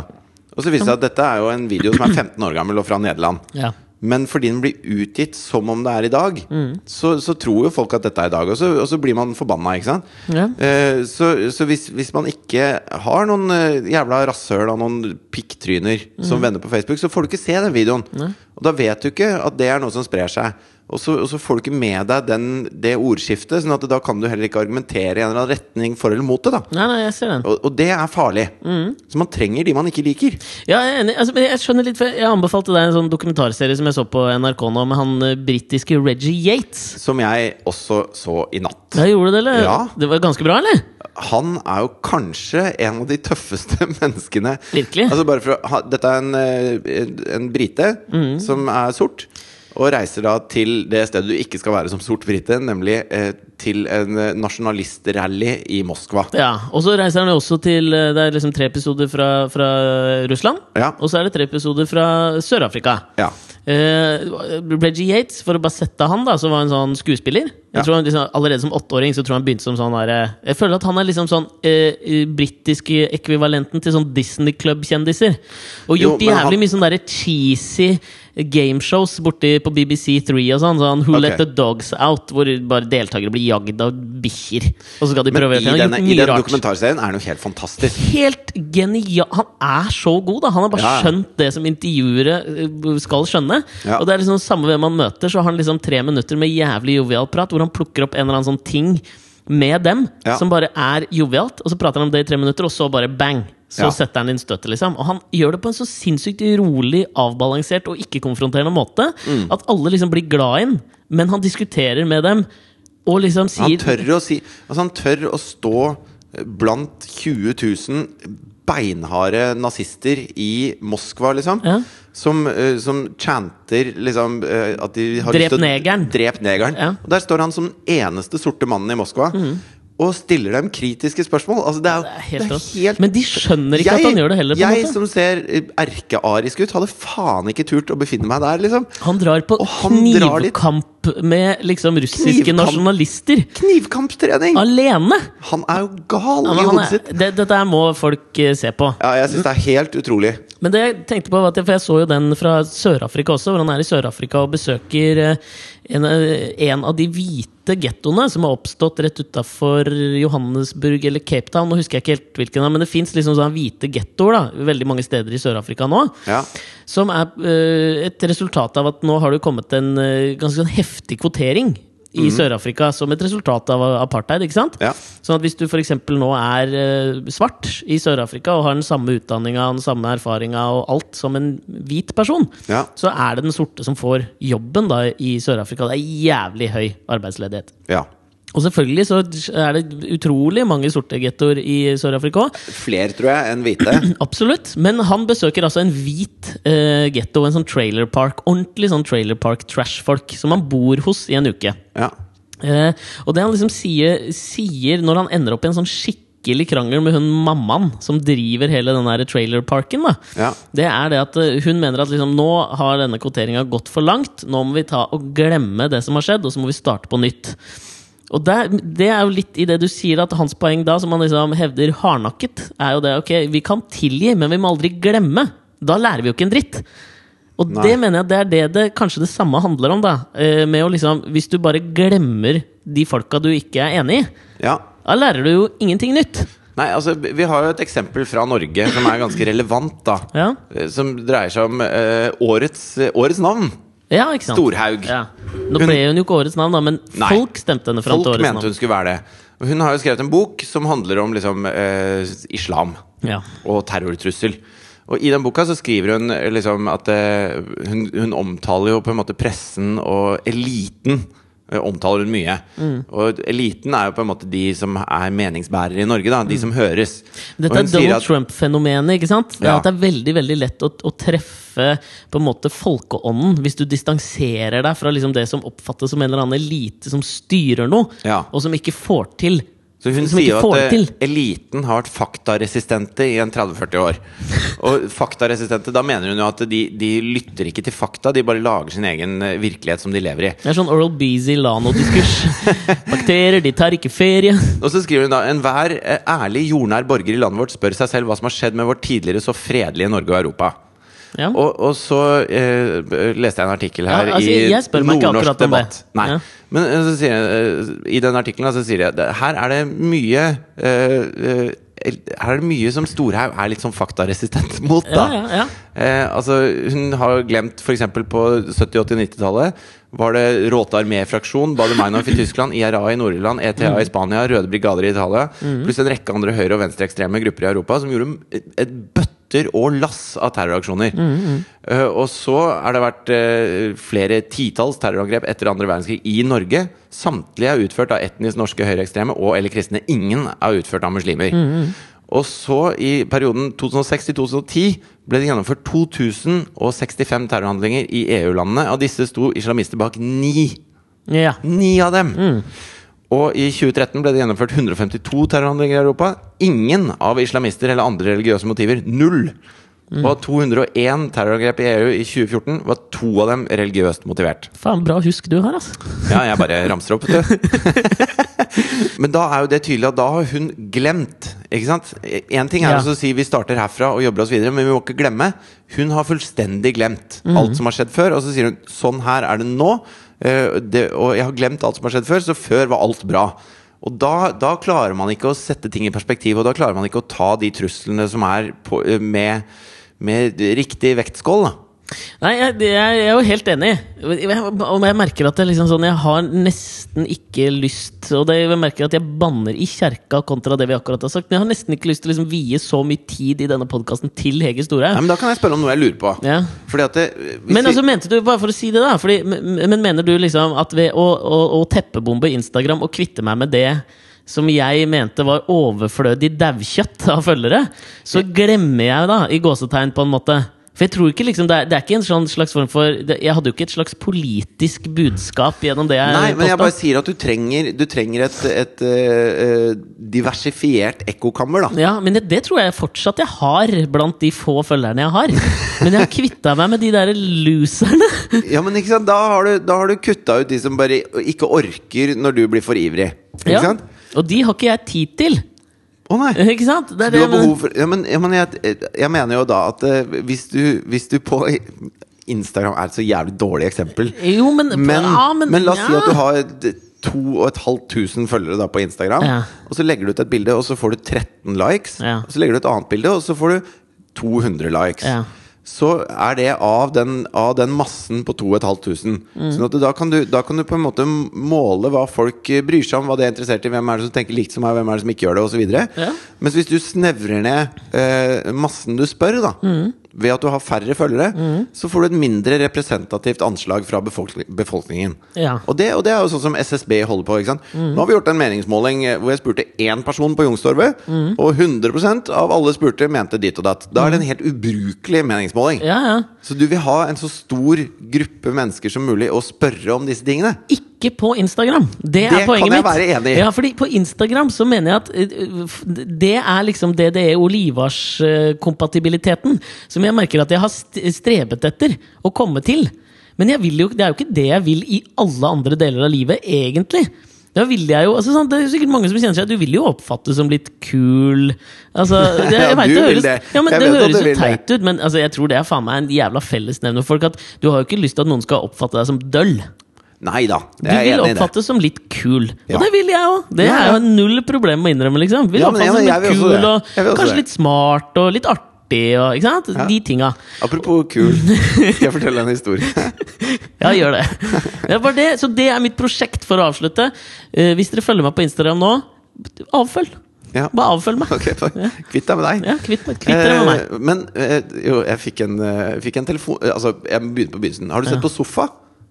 Og så viser det seg at dette er jo en video som er 15 år gammel og fra Nederland.
Ja.
Men fordi den blir utgitt som om det er i dag, så, så tror jo folk at dette er i dag. Og så, og så blir man forbanna, ikke sant.
Ja.
Eh, så så hvis, hvis man ikke har noen eh, jævla rasshøl av noen pikktryner som venner på Facebook, så får du ikke se den videoen. Og da vet du ikke at det er noe som sprer seg. Og så, og så får du ikke med deg den, det ordskiftet, sånn at da kan du heller ikke argumentere i en eller annen retning for eller mot det. da
Nei, nei, jeg ser den.
og, og det er farlig. Så man trenger de man ikke liker.
Ja, jeg, er enig. altså, men jeg skjønner litt, for jeg anbefalte deg en sånn dokumentarserie som jeg så på NRK nå, med han eh, britiske Reggie Yates.
Som jeg også så i natt.
Ja, gjorde du det, eller?
Ja.
Det var ganske bra, eller?
han er jo kanskje en av de tøffeste [LAUGHS] menneskene.
Virkelig?
Altså bare for å ha, Dette er en, eh, en, en brite
Mm.
som er sort. Og reiser da til det stedet du ikke skal være som sort brite, nemlig eh, til en eh, nasjonalistrally i Moskva.
Ja, og så reiser han jo også til eh, Det er liksom tre episoder fra, fra Russland,
Ja.
og så er det tre episoder fra Sør-Afrika.
Ja.
Eh, Reggie Yates, for å bare sette han, da som var en sånn skuespiller Jeg
Ja.
tror han liksom, Allerede som åtteåring så tror jeg han begynte som sånn der, eh, Jeg føler at han er liksom sånn eh, eh, britiske ekvivalenten til sånn Disney Club-kjendiser. Og
Jo,
gjort
men han-
jævlig mye sånn derre cheesy gameshows borti på BBC3 og sånn. Sånn Who Let
Ok.
The Dogs Out, hvor bare deltakere blir jagd av bikkjer. Og så skal de
Men
prøve å
i
gjøre
denne, i
mye
denne
rart.
dokumentarserien er han jo helt fantastisk.
Helt genial Han er så god, da! Han har bare
Ja, ja.
skjønt det som intervjuere eh, skal skjønne.
Ja.
Og det er liksom samme hvem han møter, så har han liksom tre minutter med jævlig jovial prat, hvor han plukker opp en eller annen sånn ting med dem,
Ja.
som bare er jovialt. Og så prater han om det i tre minutter, og så bare bang! Så
Ja.
setter han inn støtet, liksom. Og han gjør det på en så sinnssykt rolig, avbalansert og ikke-konfronterende måte
Mm.
at alle liksom blir glad i ham, men han diskuterer med dem og liksom sier
Han tør å si Altså han tør å stå blant 20 000 beinharde nazister i Moskva, liksom.
Ja.
Som, eh, som chanter liksom eh, at de har
Drep
lyst til å-
negeren.
Drep negeren.
Ja. Mhm.
Og der står han som den eneste sorte mannen i Moskva. Og stiller dem kritiske spørsmål. Altså det er,
Det
jo-
er helt
det er
rått. Men de skjønner ikke at han gjør det heller. på en
Jeg
måte.
som ser eh, erkearisk ut, hadde faen ikke turt å befinne meg der, liksom.
Han drar på
Og han drar dit-
knivkamp med liksom russiske
Knivkamp.
nasjonalister.
Knivkamptrening!
Alene!
Han er jo gal
Ja,
i
men han
hodet
er,
sitt.
det, dette her må folk eh, se på.
Ja, jeg syns det er helt utrolig.
Men det jeg tenkte på var at jeg- For jeg så jo den fra Sør-Afrika også, hvor han er i Sør-Afrika og besøker eh, en, eh, en av de hvite gettoene som har oppstått rett utafor Johannesburg eller Cape Town. Nå husker jeg ikke helt hvilken, men det fins liksom sånne hvite gettoer da, veldig mange steder i Sør-Afrika nå.
Ja.
Som er eh, et resultat av at nå har det jo kommet en eh, ganske sånn heftig kvotering i Sør-Afrika som et resultat av apartheid. ikke sant?
Mhm. Ja.
Sånn at hvis du f.eks. nå er eh, svart i Sør-Afrika og har den samme utdanninga og den samme erfaringa og alt som en hvit person,
Ja.
så er det den sorte som får jobben da i Sør-Afrika. Det er jævlig høy arbeidsledighet.
ja.
Og selvfølgelig så er det utrolig mange sorte gettoer i Sør-Afrika òg.
Fler, tror jeg, enn hvite.
Absolutt. Men han besøker altså en hvit uh, getto, en sånn trailer park. Ordentlig sånn trailer park trash-folk som han bor hos i en uke.
[CLEARS THROAT] Ja.
Eh, og det han liksom sier, sier når han ender opp i en sånn skikkelig krangel med hun mammaen som driver hele den der trailerparken, da,
Ja.
det er det at eh, hun mener at liksom, nå har denne kvoteringa gått for langt. Nå må vi ta og glemme det som har skjedd, og så må vi starte på nytt. Og der, det er jo litt i det du sier, at hans poeng da, som han liksom hevder hardnakket, er jo det ok, vi kan tilgi, men vi må aldri glemme. Da lærer vi jo ikke en dritt. Og
Nei.
det mener jeg det er det det kanskje det samme handler om. da eh, Med å liksom, Hvis du bare glemmer de folka du ikke er enig i,
ja.
da lærer du jo ingenting nytt.
Nei, altså, vi har jo et eksempel fra Norge som er ganske relevant, da.
Ja,
Eh, Som dreier seg om eh, årets, eh, årets navn.
ja ikke sant?
Storhaug.
Ja. Nå ble hun jo ikke årets navn, da, men
Nei.
folk stemte henne fram
Folk
til årets
mente
navn.
hun skulle være det. Og Hun har jo skrevet en bok som handler om liksom, eh, islam
Ja.
og terrortrussel. Og i den boka så skriver hun eh, liksom at eh, hun, hun omtaler jo på en måte pressen og eliten eh, omtaler hun mye.
Mm.
Og eliten er jo på en måte de som er meningsbærere i Norge, da. De som høres.
Mm. Dette
Og
er
hun sier
Donald Trump-fenomenet. ikke sant? Det er
Ja.
At det er veldig veldig lett å, å treffe på en måte folkeånden hvis du distanserer deg fra liksom det som oppfattes som en eller annen elite som styrer noe,
Ja.
og som ikke får til.
Så hun
som ikke
sier jo
får det
at
til.
eh, eliten har vært faktaresistente i en
[LAUGHS]
30-40 år. Og faktaresistente, da mener hun jo at de, de lytter ikke til fakta, de bare lager sin egen eh, virkelighet som de lever i.
Det er sånn Oral Beasy Lano-diskurs.
[LAUGHS]
Bakterier, de tar ikke ferie.
Og så skriver hun da enhver eh, ærlig jordnær borger i landet vårt spør seg selv hva som har skjedd med vårt tidligere så fredelige Norge og Europa.
Ja.
Og, og så eh, b- leste jeg en artikkel her
Ja, altså, jeg spør
i
meg ikke
Nordnorsk
akkurat om
debatt.
det.
Nei.
Ja.
Men eh, så sier jeg, eh, i den artikkelen da, så sier jeg at her er det mye eh, eh, el- her er det mye som Storhaug er litt sånn faktaresistent mot, da.
Ja, ja, ja.
Eh, altså, hun har jo glemt f.eks. på 70-, 80-, 90-tallet var det Råte armé-fraksjon, Baader-Meinhof i Tyskland, IRA i Nord-Irland, ETA i Spania, Røde brigader i Italia, pluss en rekke andre høyre- og venstreekstreme grupper i Europa som gjorde et- et bøtter og lass av terroraksjoner. Eh, og så har det vært eh, flere titalls terrorangrep etter andre verdenskrig i Norge. Samtlige er utført av etnisk norske høyreekstreme og eller kristne. Ingen er utført av muslimer. Og så, i perioden 2006 til 2010, ble det gjennomført 2065 terrorhandlinger i EU-landene. Av disse sto islamister bak ni.
Ja.
Ni av dem! Og i 2013 ble det gjennomført 152 terrorhandlinger i Europa. Ingen av islamister eller andre religiøse motiver. Null! Og av 201 terrorangrep i EU i 2014 var to av dem religiøst motivert.
Faen, bra husk du har, altså.
Ja, jeg bare ramser opp,
[LAUGHS]
vet du. Men da er jo det tydelig at da har hun glemt. Ikke sant? Én ting er
Ja.
også å si vi starter herfra og jobber oss videre, men vi må ikke glemme. Hun har fullstendig glemt
Mhm.
alt som har skjedd før, og så sier hun sånn her er det nå. eh, det, og jeg har glemt alt som har skjedd før, så før var alt bra. Og da, da klarer man ikke å sette ting i perspektiv, og da klarer man ikke å ta de truslene som er på, med, med eh, riktig vektskål. Da.
Nei, jeg, jeg er jo helt enig. Jeg, og jeg merker at jeg, liksom sånn, jeg har nesten ikke lyst Og det, jeg merker at jeg banner i kjerka kontra det vi akkurat har sagt. Men jeg har nesten ikke lyst til å liksom vie så mye tid i denne podkasten til Hege
Nei,
Storhaug.
men Da kan jeg spørre om noe jeg lurer på.
Ja.
Fordi at det, hvis
Men
vi-
altså, mente du, bare for å si det da fordi, men, men mener du liksom at ved å, å, å teppebombe Instagram og kvitte meg med det som jeg mente var overflødig daukjøtt av følgere, så glemmer jeg da, i gåsetegn, på en måte For jeg tror ikke liksom Det er, det er ikke en sånn slags form for det, Jeg hadde jo ikke et slags politisk budskap gjennom det jeg
Nei, men jeg
postet.
bare sier at du trenger, du trenger et, et eh, eh, diversifiert ekkokammer, da.
Ja, men det, det tror jeg fortsatt jeg har blant de få følgerne jeg
[LAUGHS]
har. Men jeg har kvitta meg med de der loserne.
Ja, men ikke sant? Da har du, da har du kutta ut de som bare ikke orker når du blir for ivrig. Ikke
Ja.
sant?
Og de har ikke jeg tid til.
Å nei!
Ikke sant? Det er
Du
det
har
jeg mener.
behov for Ja, men, ja, men jeg, jeg mener jo da at eh, hvis, du, hvis du på Instagram er et så jævlig dårlig eksempel.
Jo, men,
Men,
ja, men,
men la oss si
ja.
at du har d- 2500 følgere da på Instagram,
Ja.
og så legger du ut et bilde, og så får du 13 likes.
Ja.
Og så legger du et annet bilde, og så får du 200 likes.
Ja.
Så er det av den, av den massen på 2500.
Mm.
Sånn at da kan, du, da kan du på en måte måle hva folk eh, bryr seg om, hva de er interessert i, hvem er det som tenker likt som meg, hvem er det som ikke gjør det, osv.
Ja.
Mens hvis du snevrer ned eh, massen du spør, da
Mm.
ved at du har færre følgere, så får du et mindre representativt anslag fra befolkning, befolkningen.
Ja.
Og, det, og det er jo sånn som SSB holder på. ikke sant?
Mm.
Nå har vi gjort en meningsmåling eh, hvor jeg spurte én person på Youngstorget,
Mm.
og 100 av alle spurte mente dit og datt. Da er det en helt ubrukelig meningsmåling.
Ja, ja.
Så du vil ha en så stor gruppe mennesker som mulig å spørre om disse tingene.
Ikke på Instagram! Det er
Det
poenget
kan jeg
mitt.
være enig i.
Ja, fordi på Instagram så mener jeg at eh, f- det er liksom DDE Olivars-kompatibiliteten som jeg merker at jeg har st- strebet etter å komme til. Men jeg vil jo, det er jo ikke det jeg vil i alle andre deler av livet, egentlig. Da vil jeg jo, altså sånn, Det er jo sikkert mange som kjenner seg Du vil jo oppfattes som litt kul. Altså,
[LAUGHS]
det, jeg
Ja,
vet, det
du vil
høres,
det.
Ja, men
Jeg
det
vet at
høres
du
jo
vil det.
teit ut, men altså, jeg tror det er faen meg en jævla fellesnevner for folk. At du har jo ikke lyst til at noen skal oppfatte deg som døll.
Nei da,
Du vil
jeg er enig i det.
oppfattes som litt kul, og
Ja.
det vil jeg òg. Det
Ja,
er
ja.
jo null problem å innrømme. liksom Vil
Ja, men-
oppfattes
ja, men jeg
som litt
vil også det.
kul og
Jeg vil også
kanskje
det.
litt smart og litt artig. Og, ikke sant? De tinga.
Apropos kul, skal jeg fortelle en
[LAUGHS]
historie? [LAUGHS]
Ja, gjør det. det, var det. Så det er mitt prosjekt for å avslutte. Eh, hvis dere følger meg på Instagram nå, avfølg.
Ja.
Bare avfølg meg.
Ok, for- Kvitt deg med deg.
Ja, kvitt, meg- kvitt dere med meg.
Eh, Men eh, jo, jeg fikk en, eh, fikk en telefon eh, Altså, jeg begynner på begynnelsen. Har du sett på Sofa?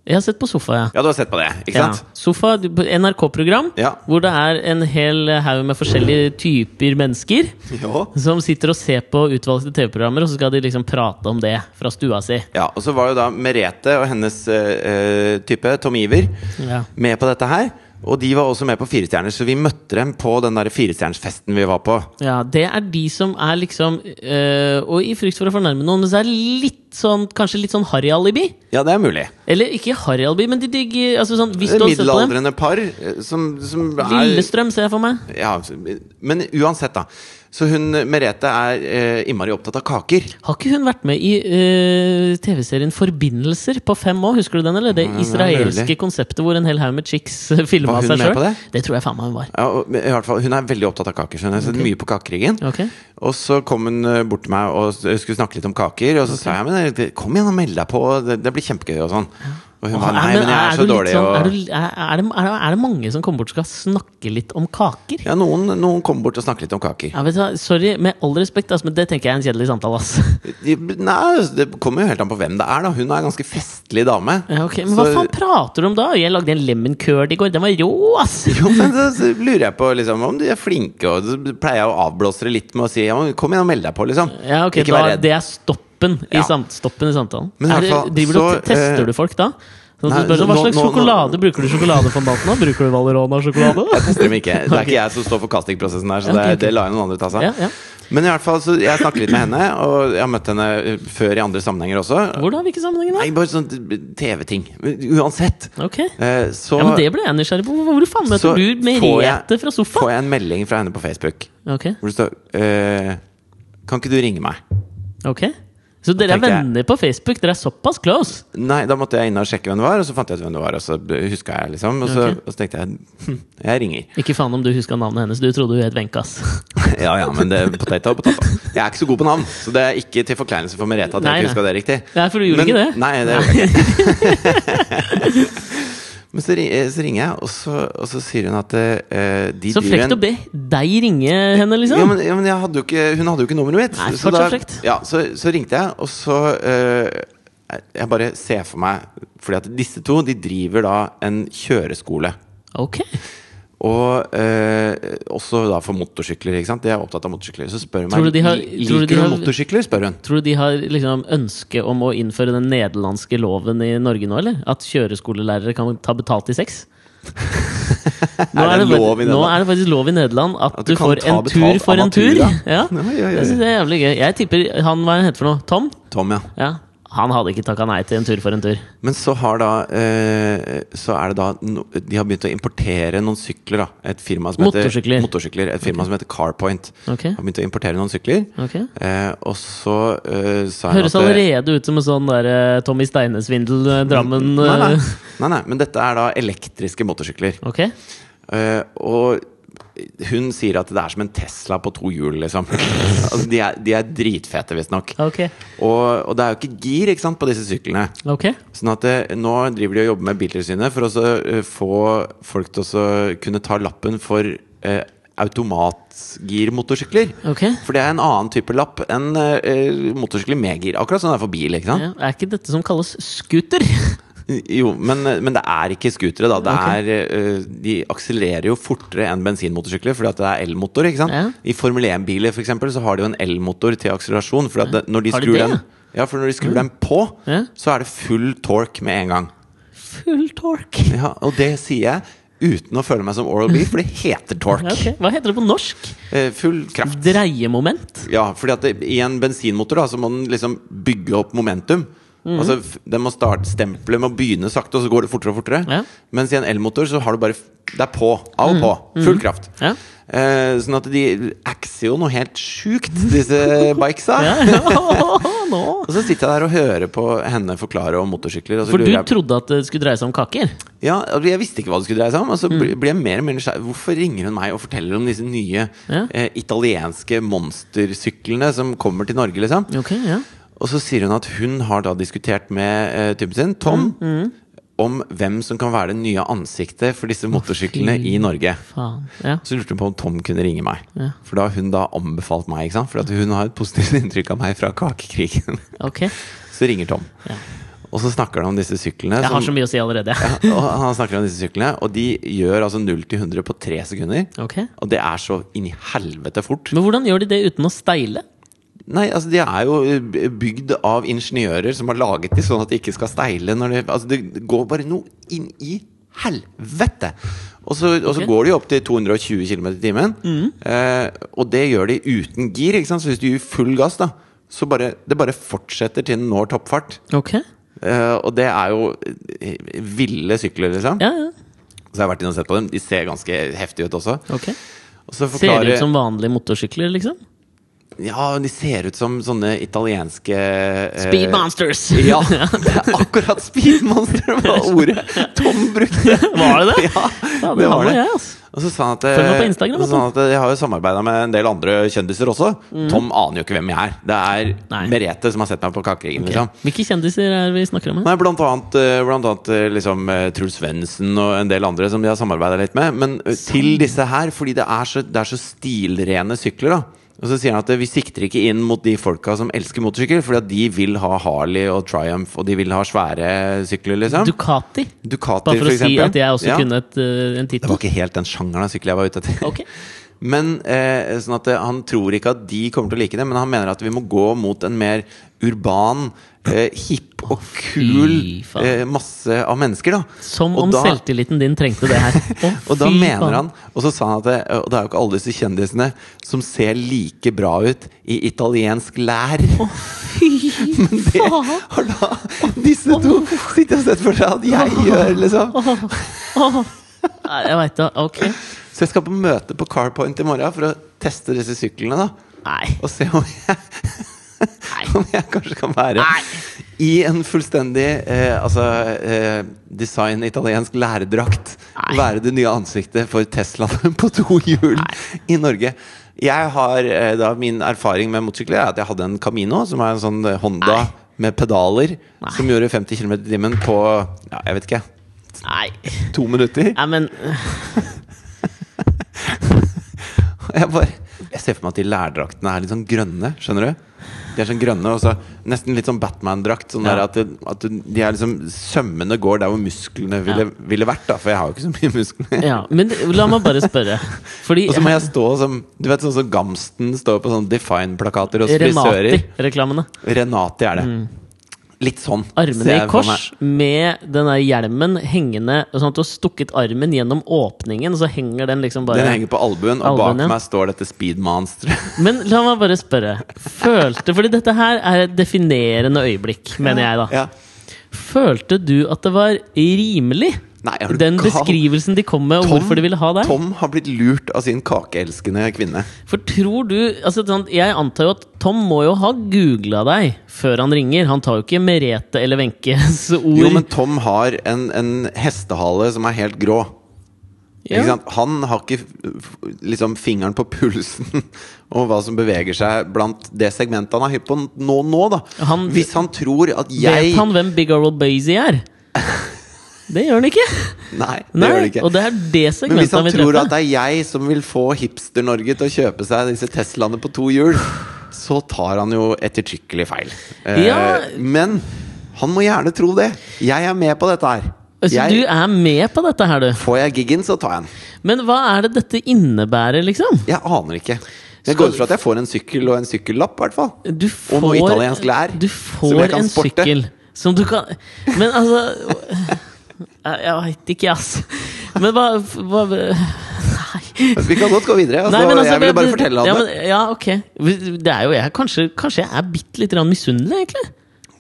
Jeg har sett på sofa, ja.
Ja, du har sett på det, ikke
Ja.
sant?
Sofa, du- NRK-program,
Ja.
hvor det er en hel haug med forskjellige typer mennesker
Ja.
som sitter og ser på utvalgte TV-programmer, og så skal de liksom prate om det fra stua si.
Ja, og så var jo da Merete og hennes eh, eh, type, Tom Iver,
Ja.
med på dette her. Og de var også med på Firestjerner, så vi møtte dem på den der firestjernersfesten vi var på.
Ja, det er de som er liksom øh, Og i frykt for å fornærme noen, men så er det litt sånn, kanskje litt sånn harry-alibi.
Ja, det er mulig.
Eller ikke harry-alibi, men de digger altså sånn, hvis
Et
du har sett på dem.
middelaldrende par eh, som, som er
Lillestrøm ser jeg for meg.
ja, Men uansett, da. Så hun Merete er eh, innmari opptatt av kaker.
Har ikke hun vært med i øh, TV-serien Forbindelser på fem år? Husker du den, eller? Det
Mm, Ja, det er
israelske
mulig.
konseptet hvor en hel haug med chicks øh,
Var
filma
hun
seg
med
sjøl?
på
Det?
det?
tror jeg faen meg hun var.
Ja, og, men i hvert fall, hun er veldig opptatt av kaker, så hun har sett mye på kakekrigen.
Ok.
Og så kom hun eh, bort til meg og s- skulle snakke litt om kaker, og så sa jeg men eh, kom igjen og meld deg på, det, det blir kjempegøy og sånn. Og
Åh,
hun var nei,
men
men jeg er
du
så
litt
dårlig
sånn- er, du, er,
og
er, det, er, det, er det mange som kommer bort og skal snakke litt om kaker?
Ja, noen, noen kom bort og snakket litt om kaker.
Ja, vet du hva, Sorry, med all respekt, ass, men det tenker jeg er en kjedelig samtale. ass
De- Nei, altså, det kommer jo helt an på hvem det er, da. Hun er en ganske festlig dame.
Ja, ok, Men hva
Så-
faen prater du om da? Jeg lagde en lemon curd i går. Den var rå, ass!
[LAUGHS]
[LAUGHS]
Jo, men så, så lurer jeg på liksom, om de er flinke, og så pleier jeg å avblåse det litt med å si ja, men kom igjen og meld deg på, liksom.
Ja, ok, da,
Ikke vær redd.
Det er stoppen i,
Ja.
sam stoppen i samtalen.
Men i
er
hvert
det,
fall,
driver du, og
så,
te- tester
eh,
du folk da? Sånn at
nei,
du spør,
så
hva
nå-
slags
nå- nå-
sjokolade bruker du sjokoladefondanten av? Bruker du Valerona-sjokolade? [LAUGHS]
Jeg tester dem ikke. Det er ikke jeg som står for castingprosessen her, så
Ja,
det,
ok, ok.
det lar jeg noen andre ta seg
Ja,
av.
ja.
Men i hvert fall, så jeg snakket litt med henne, og jeg har møtt henne eh, før i andre sammenhenger også.
Hvordan? Hvilke sammenhenger da?
Nei, bare sånn TV-ting. Uansett.
Ok
Eh, Så,
ja, men Det ble jeg nysgjerrig på. Hvor faen
så
møter du
får jeg-
Merete fra sofaen?
Får jeg en melding fra henne på Facebook
Ok,
hvor det står eh, Kan ikke du ringe meg?
ok Så dere er
tenker jeg-
venner på Facebook? Dere er såpass close?
Nei, da måtte jeg inn og sjekke hvem det var, og så fant jeg ut hvem det var, og så huska jeg, liksom. Og så,
Ok.
og så tenkte jeg hm, jeg ringer.
Ikke faen om du huska navnet hennes. Du trodde hun het Wenche, ass.
[LAUGHS] Ja, ja, men det er potato og potato. Jeg er ikke så god på navn, så det er ikke til forkleinelse for Merete at
Nei,
jeg
nei.
ikke huska det riktig.
Nei, for du gjorde
men,
ikke det.
Nei, det gjorde jeg ikke.
[LAUGHS]
Men så, ri- eh, så ringer jeg, og så, og så sier hun at eh, de
Så frekt å be deg ringe henne, liksom.
ja, men, ja, men jeg hadde jo ikke, hun hadde jo ikke nummeret mitt.
Nei,
så,
fortsatt frekt.
ja, så, så ringte jeg, og så eh, Jeg bare ser for meg Fordi at disse to de driver da en kjøreskole.
Ok.
Og eh, også da for motorsykler. ikke sant? De er opptatt av motorsykler. Så spør hun
Tror
meg
du de har-
"Li-
tror du
Liker
de
du
har-
motorsykler. spør hun
Tror du de har liksom ønske om å innføre den nederlandske loven i Norge nå, eller? At kjøreskolelærere kan ta betalt i
[LAUGHS]
sex? Nå
Er det
fakt-
lov i
nå
Nederland?
er det faktisk lov i Nederland at,
At
du,
du kan
får
ta
en
betalt
tur for
av
en tur.
natura?
Ja.
Oi, oi, oi.
Jeg synes det er jævlig gøy. Jeg tipper han hva er han heter for noe? Tom?
Tom, ja.
Ja. Han hadde ikke takka nei til en tur for en tur.
Men så har da eh, Så er det da no, De har begynt å importere noen sykler, da. Et firma som
Motorsykler.
heter Motorsykler. Et firma som heter Carpoint.
Ok.
Har begynt å importere noen sykler.
Ok.
Eh, og så eh, sa hun
Høres
at det-
allerede ut som en sånn der, eh, Tommy Steine-svindel, eh, Drammen
Nei, nei.
eh,
nei, nei, men dette er da elektriske motorsykler.
Ok.
Eh, og hun sier at det er som en Tesla på to hjul, liksom. [LAUGHS] altså, de, er, de er dritfete, visstnok.
Ok.
Og, og det er jo ikke gir ikke sant, på disse syklene.
Ok.
Sånn at eh, nå driver de og jobber med Biltilsynet for å så, eh, få folk til å så kunne ta lappen for eh, automatgirmotorsykler.
Ok.
For det er en annen type lapp enn eh, eh, motorsykler med gir. Akkurat sånn er det for bil. ikke sant?
Ja. Er ikke dette som kalles scooter? [LAUGHS]
Jo, men, men det er ikke scootere, da. Det
Ok.
er, eh, de akselererer jo fortere enn bensinmotorsykler fordi at det er elmotor. ikke sant?
Ja.
I Formel 1-biler for eksempel, så har de jo en elmotor til akselerasjon. Fordi at det, når de
Har de
skrur
det,
den, ja, for når de skrur den på,
Ja.
så er det full torque med en gang.
Full torque.
Ja, og det sier jeg uten å føle meg som Oral B, for det
Ja,
heter torque.
ok. Hva heter det på norsk?
Eh, Full kraft.
Dreiemoment?
Ja, fordi at det, i en bensinmotor da, så må den liksom bygge opp momentum.
Mhm.
Altså, f- den må starte, Stempelet må begynne sakte, og så går det fortere og fortere.
Ja. Mhm.
Mens i en elmotor så har du bare f- Det er på. Av og på. Full kraft.
Ja.
Eh, sånn at de akser jo noe helt sjukt, disse
[LAUGHS]
bikesa.
Ja, ja. Nå.
Og så sitter jeg der og hører på henne forklare om motorsykler. Og så
For du
lurer jeg,
trodde at det skulle dreie seg om kaker?
ja, altså, jeg visste ikke hva det skulle dreie seg om. Og så
Mm.
blir- blir jeg mer og mer nysgjerrig. Hvorfor ringer hun meg og forteller om disse nye
Ja.
eh, italienske monstersyklene som kommer til Norge, liksom?
Ok, ja.
Og så sier hun at hun har da diskutert med eh, typen sin, Tom,
Mm,
om hvem som kan være det nye ansiktet for disse motorsyklene i Norge.
Faen. Ja.
Så lurte hun på om Tom kunne ringe meg.
Ja.
For da har hun da anbefalt meg, ikke sant? For at hun har et positivt [LAUGHS] inntrykk av meg fra kakekrigen. [LAUGHS]
Ok.
Så ringer Tom.
Ja.
Og så snakker han om disse syklene.
Jeg har så
som-
mye å si allerede. jeg.
[COUGHS] og han snakker om disse syklene, og de gjør altså 0 til 100 på tre sekunder.
Ok.
Og det er så inn i helvete fort.
Men hvordan gjør de det uten å steile?
Nei, altså De er jo eh, bygd av ingeniører som har laget de sånn at de ikke skal steile. Når de, altså Det går bare noe inn i helvete! Og så, og så
Ok.
går de jo opp til 220 km i timen. Eh, og det gjør de uten gir. ikke sant? Så hvis du gir full gass, da så bare, det bare fortsetter til den når toppfart.
Ok.
Eh, og det er jo eh, ville sykler, liksom.
Ja, ja.
Så jeg har vært inne og sett på dem. De ser ganske heftige ut også.
Ok.
Og så
Ser
forklarer,
det ut som vanlige motorsykler, liksom?
Ja, de ser ut som sånne italienske eh,
Speed Monsters!
[LAUGHS]
[LAUGHS]
Ja, det er akkurat speedmonster var ordet Tom brukte.
[LAUGHS] Var det det?
Ja,
Ja,
det
han
var
og
det.
jeg, altså.
Og så sa han at, eh,
Følg meg på Instagram,
så sa han at jeg har jo samarbeida med en del andre kjendiser også. Tom aner jo ikke hvem jeg er. Det er
Mm. Nei.
Merete som har sett meg på Kakeringen. Liksom.
Ok. Hvilke kjendiser er vi snakker om her?
Nei, blant annet, eh, blant annet eh, liksom, eh, Truls Svendsen og en del andre som de har samarbeida litt med. Men eh, til disse her, fordi det er så, det er så stilrene sykler, da. Og så sier han at eh, vi sikter ikke inn mot de folka som elsker motorsykkel, fordi at de vil ha Harley og Triumph, og de vil ha svære sykler, liksom.
Ducati?
Ducati,
Bare for å si at jeg også
Ja.
kunne et, eh, en
Det
tittel.
var ikke helt den sjangeren av sykkel jeg var ute etter. [LAUGHS]
Ok.
Men eh, sånn at eh, Han tror ikke at de kommer til å like det, men han mener at vi må gå mot en mer urban, eh, hipp og kul
Fy faen.
eh, masse av mennesker. da
Som
Og
om
da-
selvtilliten din trengte
[LAUGHS]
det her. Å,
Og da
fy
mener
faen.
han Og så sa han at det, og det er jo ikke alle disse kjendisene som ser like bra ut i italiensk lær.
[LAUGHS] Fy
[LAUGHS] Det
faen!
har da disse to sittet og sett for seg at jeg gjør, liksom.
Nei, Jeg veit da. Ok.
Så jeg skal på møte på Carpoint i morgen for å teste disse syklene. da
Nei.
Og se om jeg Om jeg kanskje kan være
Nei.
i en fullstendig eh, altså, eh, design italiensk lærerdrakt.
Nei.
[LAUGHS] Være det nye ansiktet for Teslaen på to hjul i Norge. Jeg har eh, da Min erfaring med motorsykler er at jeg hadde en Camino, som er en sånn eh, Honda
Nei.
med pedaler,
Nei.
som gjorde 50 km i timen på ja, jeg vet ikke
Nei.
to minutter.
Nei, men
[LAUGHS] Jeg, bare, jeg ser for meg at de lærdraktene er litt sånn grønne, skjønner du? De er sånn grønne, og så nesten litt sånn Batman-drakt. Sånn der
Ja.
at, det- at det- de er liksom Sømmene går der hvor musklene ville, ville vært, da. For jeg har jo ikke så mye muskler.
Ja, men la meg bare spørre. Fordi
Og så må jeg stå som Du vet sånn som Gamsten står på sånne Define-plakater hos frisører.
Remati-reklamene.
Renati er det. Litt sånn.
Mm.
ser
Armene i
jeg for meg.
kors med den der hjelmen hengende Sånn at du har stukket armen gjennom åpningen, og så henger den liksom bare
Den henger på albuen, og
Albuen,
bak
ja.
meg står dette speed-monsteret.
Men la meg bare spørre. Følte Fordi dette her er et definerende øyeblikk, mener jeg, da.
[LAUGHS] Ja.
Følte du at det var rimelig?
Nei, er du
Den
gal?
beskrivelsen de kom med, og hvorfor de ville ha deg?
Tom har blitt lurt av sin kakeelskende kvinne.
For tror du altså, sånn, Jeg antar jo at Tom må jo ha googla deg før han ringer. Han tar jo ikke Merete eller Wenches ord.
Jo, men Tom har en, en hestehale som er helt grå.
Ja.
Ikke sant? Han har ikke f- liksom fingeren på pulsen [LAUGHS] og hva som beveger seg blant det segmentet han er hypp på nå, nå da.
Han-
Hvis han tror at jeg
Vet han hvem Big Oral Bazy
[LAUGHS]
er? Det gjør han ikke!
Nei, det
Nei,
gjør det ikke.
Og det er det
Men hvis
segmentet han
han
vil
tror at
drepe.
det er jeg som vil få Hipster-Norge til å kjøpe seg disse Teslaene på to
[SIGHS]
hjul, så tar han jo ettertrykkelig feil. Eh,
Ja.
Men han må gjerne tro det. Jeg er med på dette her.
Altså,
Jeg,
Du er med på dette her, du.
Får jeg giggen, så tar jeg den.
Men hva er det dette innebærer, liksom?
Jeg aner ikke. Jeg
Skal
går ut
du-
fra at jeg får en sykkel og en sykkellapp, i hvert fall.
Du får,
Og noe italiensk lær
Du
som
får
jeg kan
en
sporte.
sykkel som du kan Men altså [LAUGHS] Jeg, jeg veit ikke, ass. Men hva, hva Nei.
Vi kan godt gå videre. Altså,
Nei, men altså,
jeg ville
det-
bare
det-
fortelle
ja,
om det.
men, ja, ok. Det er jo jeg. Kanskje, kanskje jeg er bitte litt grann misunnelig, egentlig.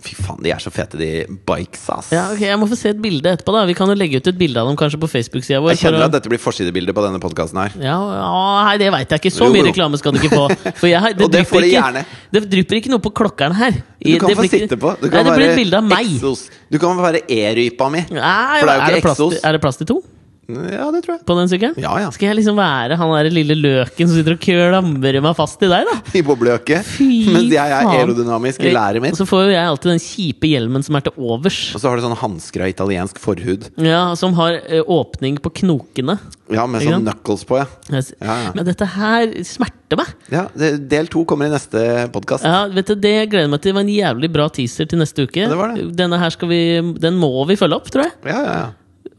Fy faen, de er så fete, de bikes, ass.
Ja, ok, Jeg må få se et bilde etterpå. da Vi kan jo legge ut et bilde av dem kanskje på Facebook-sida vår.
Jeg kjenner
for å-
at dette blir forsidebildet på denne podkasten her.
ja, ja, Nei, det veit jeg ikke. Så
Jo,
mye
jo.
reklame skal du ikke få. For jeg, har-
[LAUGHS] Og det
drypper
får du
ikke-
gjerne.
Det drypper ikke noe på klokkeren her.
Du kan
det blir
få
ikke-
sitte på.
Nei,
Du kan
det blir et
være
bilde av meg.
Exos. Du kan være E-rypa mi.
Nei,
For det er jo
er,
ikke
det plass til,
Exos.
er det plass til to
Ja, det tror jeg.
på den sykkelen?
Ja, ja.
Skal jeg liksom være han der lille løken som sitter og klamrer meg fast til deg, da?
I boblejakke.
Fy
Mens jeg er
faen. altså-
aerodynamisk i læret
Og
mitt.
så får jo jeg alltid den kjipe hjelmen som er til overs.
Og så har du sånne hansker av italiensk forhud.
Ja, Som har eh, åpning på knokene.
Ja, med
Ikke
sånn
sant?
knuckles på, ja.
Jeg s-
Ja, ja.
Men dette her smerter meg.
ja det- del to kommer i neste podkast.
Ja, vet du, Det jeg gleder meg til var en jævlig bra teaser til neste uke.
det var det.
Denne her skal vi, Den må vi følge opp, tror jeg.
Ja, ja, ja.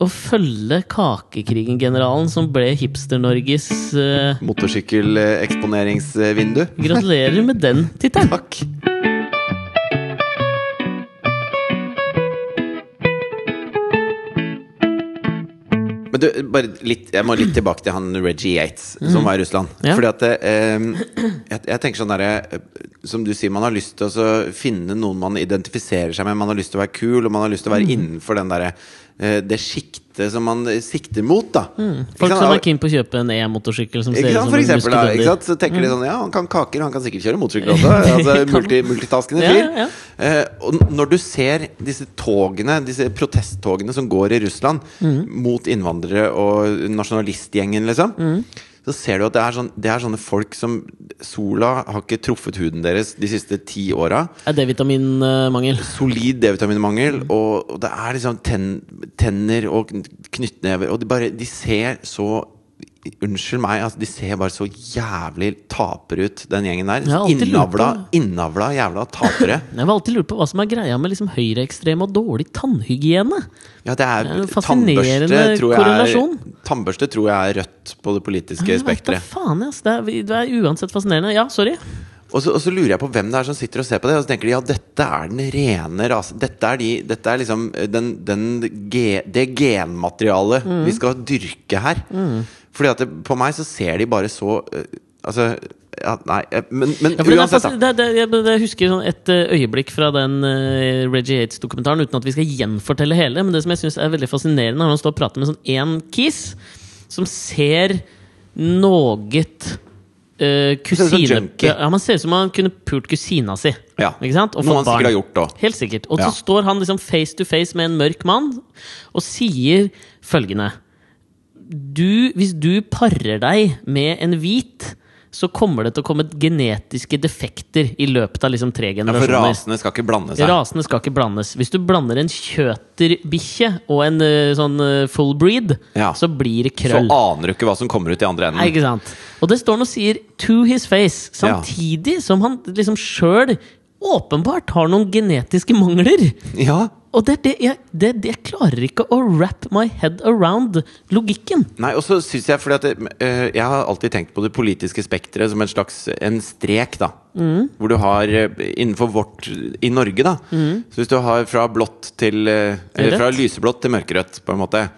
Å følge Kakekrigen-generalen som ble Hipster-Norges eh,
Motorsykkel-eksponeringsvindu.
Gratulerer med den tittelen.
Takk. Men du, bare litt, jeg må litt tilbake til han Reggie Yates, som var i Russland.
Mm. Ja.
Fordi at eh, jeg, jeg tenker sånn derre eh, Som du sier, man har lyst til å så finne noen man identifiserer seg med. Man har lyst til å være kul, og man har lyst til å
Mm.
være innenfor den derre eh, det sjiktet som man sikter mot, da. Ikke
Mm. Folk
sant?
som
Og-
er keen på å kjøpe en e-motorsykkel som ser ut
Ikke sant,
som
for
en
eksempel, da, ikke
muskelbønder.
sant? Så tenker de sånn Ja, han kan kaker, han kan sikkert kjøre motorsykkel
[LAUGHS]
også. Altså,
Kan-
multi, multitasking
Ja,
fyr.
ja.
Eh, og n- når du ser disse togene, disse protesttogene som går i Russland
Mm.
mot innvandrere og nasjonalistgjengen, liksom,
Mm.
så ser du at det er, sånn, det er sånne folk som Sola har ikke truffet huden deres de siste ti åra
Er D-vitaminmangel.
solid D-vitaminmangel, og, og det er liksom ten, tenner og kn- knyttnever Og de bare De ser så Unnskyld meg, altså, de ser bare så jævlig tapere ut, den gjengen der.
Jeg har alltid lurt på-
Innavla, innavla jævla tapere.
Jeg har alltid lurt på hva som er greia med liksom høyreekstreme og dårlig tannhygiene.
Ja, det er,
Det er en fascinerende
tannbørste, tror jeg er,
korrelasjon.
tannbørste tror jeg er rødt på det politiske
Jeg vet da
spekteret.
faen, ass. Det er, det er uansett fascinerende. Ja, sorry.
Og så, og så lurer jeg på hvem det er som sitter og ser på det, og så tenker de ja, dette er den rene rasen. Dette er, de, dette er liksom eh, den, den, ge- det genmaterialet
Mm.
vi skal dyrke her. Fordi at det, på meg så ser de bare så eh, Altså ja, Nei, eh, men, men
Ja, for den er
uansett,
fas-
da.
det, det, jeg, jeg husker sånn et eh, øyeblikk fra den eh, Reggie Hates-dokumentaren, uten at vi skal gjenfortelle hele. Men det som jeg synes er veldig fascinerende, er når han står og prater med sånn én kis som ser noe eh,
ut som
kusine...
junkie.
Ja, man ser ut som om han kunne pult kusina si.
Ja.
Ikke sant?
Noe
fått
han sikkert
barn.
har gjort da.
Helt sikkert. Og
Ja.
så står han liksom face to face med en mørk mann og sier følgende du, Hvis du parer deg med en hvit, så kommer det til å komme genetiske defekter i løpet av liksom tre
Ja, for
generasjoner.
rasene skal ikke blande seg.
Rasene skal ikke blandes. Hvis du blander en kjøterbikkje og en eh, sånn eh, full breed,
Ja.
så blir det
Så
krøll.
aner du ikke hva som kommer ut i andre
Nei,
enden.
ikke sant? Og det står han og sier 'to his face', samtidig som han liksom sjøl åpenbart har noen genetiske mangler.
Ja,
Og det er det jeg, det, det jeg klarer ikke å wrap my head around logikken.
Nei, og så synes Jeg fordi at det, eh, Jeg har alltid tenkt på det politiske spekteret som en slags en strek. da Hvor du har eh, innenfor vårt I Norge, da. Så hvis du har fra blått til eh, Eller
Rødt.
fra lyseblått til mørkerødt, på en måte.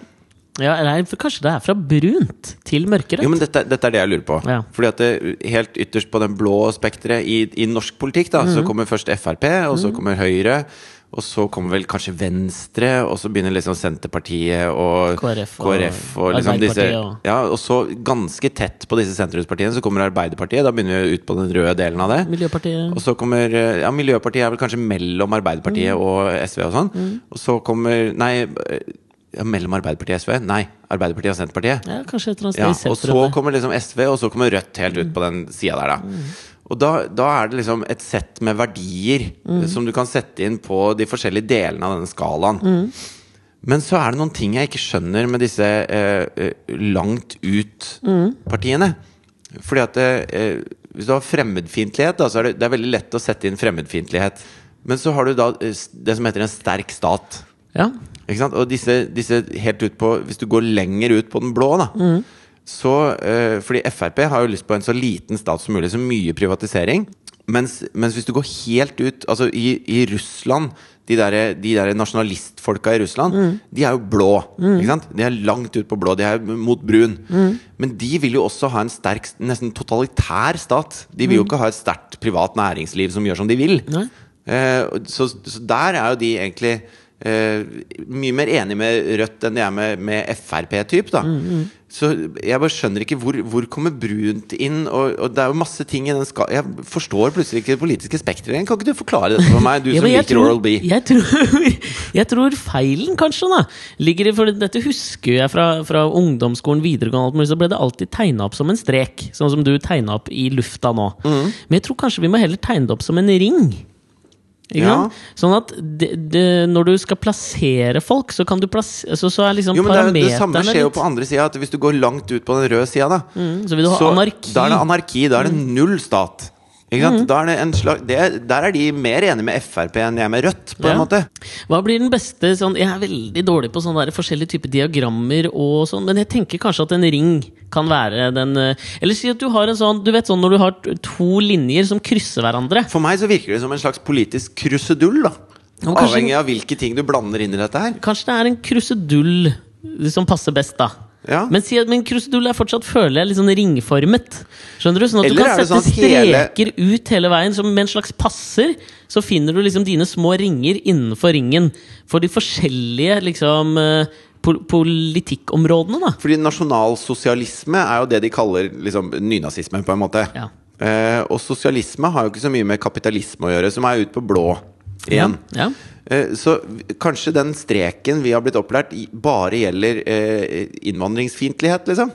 Ja, eller for kanskje det er fra brunt til mørkerødt?
Jo, men dette, dette er det jeg lurer på.
Ja.
Fordi at det, Helt ytterst på den blå spekteret i, i norsk politikk da
Mhm.
så kommer først Frp, og så kommer Høyre. Og så kommer vel kanskje Venstre, og så begynner liksom Senterpartiet og
KrF og
KrF og liksom disse
Arbeiderpartiet og-
Ja, og så ganske tett på disse sentrumspartiene så kommer Arbeiderpartiet. Da begynner vi ut på den røde delen av det. Og
Miljøpartiet
så kommer eh, Ja, Miljøpartiet er vel kanskje mellom Arbeiderpartiet
Mhm.
og SV og sånn. Og så kommer Nei, eh, ja, mellom Arbeiderpartiet og SV? Nei, Arbeiderpartiet og Senterpartiet.
ja, Kanskje et eller annet sted
Ja,
i
og
sentrum.
så
der.
kommer liksom SV, og så kommer Rødt helt ut på den sida der, da. Og da, da er det liksom et sett med verdier eh, som du kan sette inn på de forskjellige delene av denne skalaen. Men så er det noen ting jeg ikke skjønner med disse eh, eh, langt ut-partiene. Fordi at eh, hvis du har fremmedfiendtlighet, da, så er det, det er veldig lett å sette inn fremmedfiendtlighet. Men så har du da eh, s- det som heter en sterk stat.
Ja.
Ikke sant? Og disse, disse helt ut på Hvis du går lenger ut på den blå, da Så, eh, fordi Frp har jo lyst på en så liten stat som mulig, så mye privatisering. Mens, mens hvis du går helt ut Altså i, i Russland, de der, de der nasjonalistfolka i Russland, de er jo blå. Ikke sant? De er langt ut på blå. De er mot brun. Men de vil jo også ha en sterk, nesten totalitær stat. De vil jo ikke ha et sterkt privat næringsliv som gjør som de vil.
Nei.
Eh, og så, så der er jo de egentlig eh, mye mer enige med Rødt enn de er med, med Frp-typ. da
Mm,
Så jeg bare skjønner ikke hvor, hvor kommer brunt inn. Og, og det er jo masse ting i den ska Jeg forstår plutselig ikke det politiske spekteret. Kan ikke du forklare dette for meg,
[LAUGHS]
du
Ja,
som
men jeg
liker
tror-
Oral B?
Jeg tror, [LAUGHS] jeg tror feilen, kanskje, da ligger i For dette husker jeg fra, fra ungdomsskolen, videregående, alt mulig, så ble det alltid tegna opp som en strek. Sånn som du tegna opp i lufta nå.
Mhm.
Men jeg tror kanskje vi må heller tegne det opp som en ring. Ikke
Ja.
sant? Sånn at det, det, når du skal plassere folk, så kan du plassere Så, så er liksom
Jo, men det, er, jo- det samme
parameterne
skjer jo
litt- sånn,
på andre sida. Hvis du går langt ut på den røde sida, da,
så vil du ha anarki. Mm.
Da er det anarki. Da er det null stat. Ikke sant? Da er det en slag, det, der er de mer enige med Frp enn de er med Rødt, på en
Ja.
måte.
Hva blir den beste sånn, Jeg er veldig dårlig på sånne der forskjellige typer diagrammer, og sånn, men jeg tenker kanskje at en ring kan være den eh, Eller si at du har en sånn Du vet sånn når du har t- to linjer som krysser hverandre.
For meg så virker det som en slags politisk krusedull, da.
Ja, men kanskje-
Avhengig av hvilke ting du blander inn i dette her.
Kanskje det er en krusedull som passer best, da.
Ja.
Men, si, at- men krusedull er fortsatt, føler jeg, litt sånn ringformet. Skjønner du? Sånn at
Eller
du kan
er det
sette
sånn at hele-
streker ut hele veien som med en slags passer. Så finner du liksom dine små ringer innenfor ringen for de forskjellige liksom eh, pol politikkområdene, da.
Fordi nasjonalsosialisme er jo det de kaller liksom, nynazisme, på en måte.
Ja.
Eh, og sosialisme har jo ikke så mye med kapitalisme å gjøre, som er ute på blå igjen.
Ja.
Eh, Så v- kanskje den streken vi har blitt opplært i, bare gjelder eh, innvandringsfiendtlighet, liksom?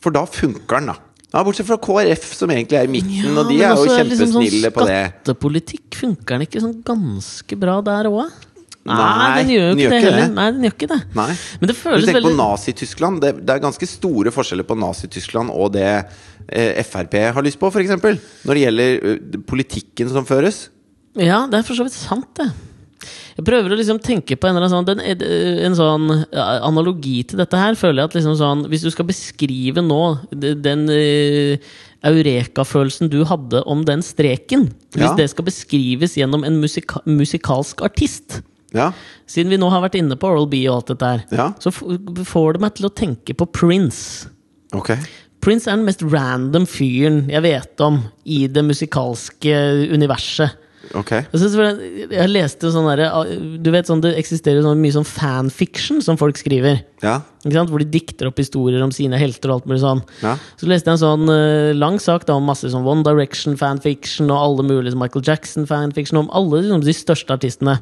For da funker den, da. Ja, bortsett fra KrF, som egentlig er i midten,
Ja,
og de
men altså,
er jo
også liksom
kjempesnille på det.
sånn Skattepolitikk funker den ikke sånn ganske bra der òg? Nei,
Nei,
den gjør jo
den
ikke
gjør
det
ikke
heller.
det.
Nei, den gjør ikke det.
Nei.
Men det
Du
føles
tenker
veldig
på Nazi-Tyskland. Det, det er ganske store forskjeller på Nazi-Tyskland og det eh, Frp har lyst på, f.eks. Når det gjelder eh, politikken som føres.
Ja, det er for så vidt sant, det. Jeg prøver å liksom tenke på en, eller annen sånn, den, en sånn ja, analogi til dette her. Føler jeg at liksom sånn, Hvis du skal beskrive nå de- den eh, eureka-følelsen du hadde om den streken Hvis
Ja.
det skal beskrives gjennom en musika musikalsk artist,
Ja.
Siden vi nå har vært inne på Oral B og alt dette her,
Ja.
så f- får det meg til å tenke på Prince.
Ok.
Prince er den mest random fyren jeg vet om i det musikalske universet.
Ok.
Jeg, synes, vel- jeg leste jo sånn derre Du vet sånn, Det eksisterer jo sånn mye sånn fanfiction som folk skriver.
Ja.
Ikke sant? Hvor de dikter opp historier om sine helter og alt mulig sånn.
Ja.
Så leste jeg en sånn eh, lang sak da om masse sånn One Direction fanfiction og alle mulige sånn Michael Jackson fanfiction om alle liksom, de største artistene.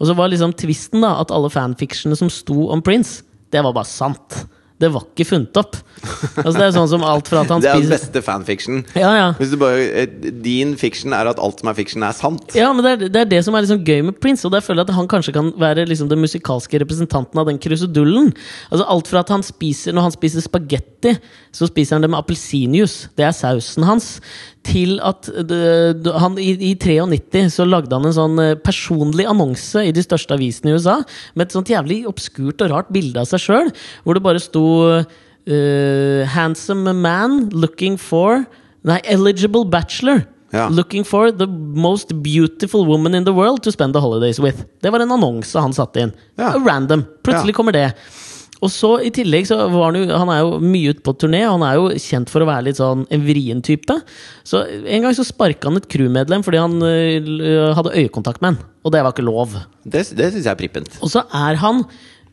Og så var liksom tvisten da at alle fanfictionene som sto om Prince, det var bare sant. Det var ikke funnet opp. Altså, det er sånn som alt fra at han
[LAUGHS] Det er den
spiser
beste fanfiction.
Ja, ja.
Hvis du bare, eh, din fiction er at alt som er fiction, er sant.
Ja, men det er, det er det som er liksom gøy med Prince. Og der føler jeg at han kanskje kan være liksom den musikalske representanten av den krusedullen. Altså Alt fra at han spiser når han spiser spagetti, så spiser han det med appelsinjuice. Det er sausen hans. Til at det, det- han i, i 93 så lagde han en sånn eh, personlig annonse i de største avisene i USA med et sånt jævlig obskurt og rart bilde av seg sjøl, hvor det bare sto eh, 'Handsome man looking for Nei, 'Eligible bachelor'.
Ja.
Looking for the most beautiful woman in the world to spend the holidays with. Det var en annonse han satte inn.
Ja.
Random. Plutselig
Ja.
kommer det. Og så i tillegg så var han jo Han er jo mye ute på turné, og han er jo kjent for å være litt sånn en vrien type. Så en gang så sparka han et crewmedlem fordi han øh, hadde øyekontakt med han. Og det var ikke lov.
Det, det syns jeg er prippent.
Og så er han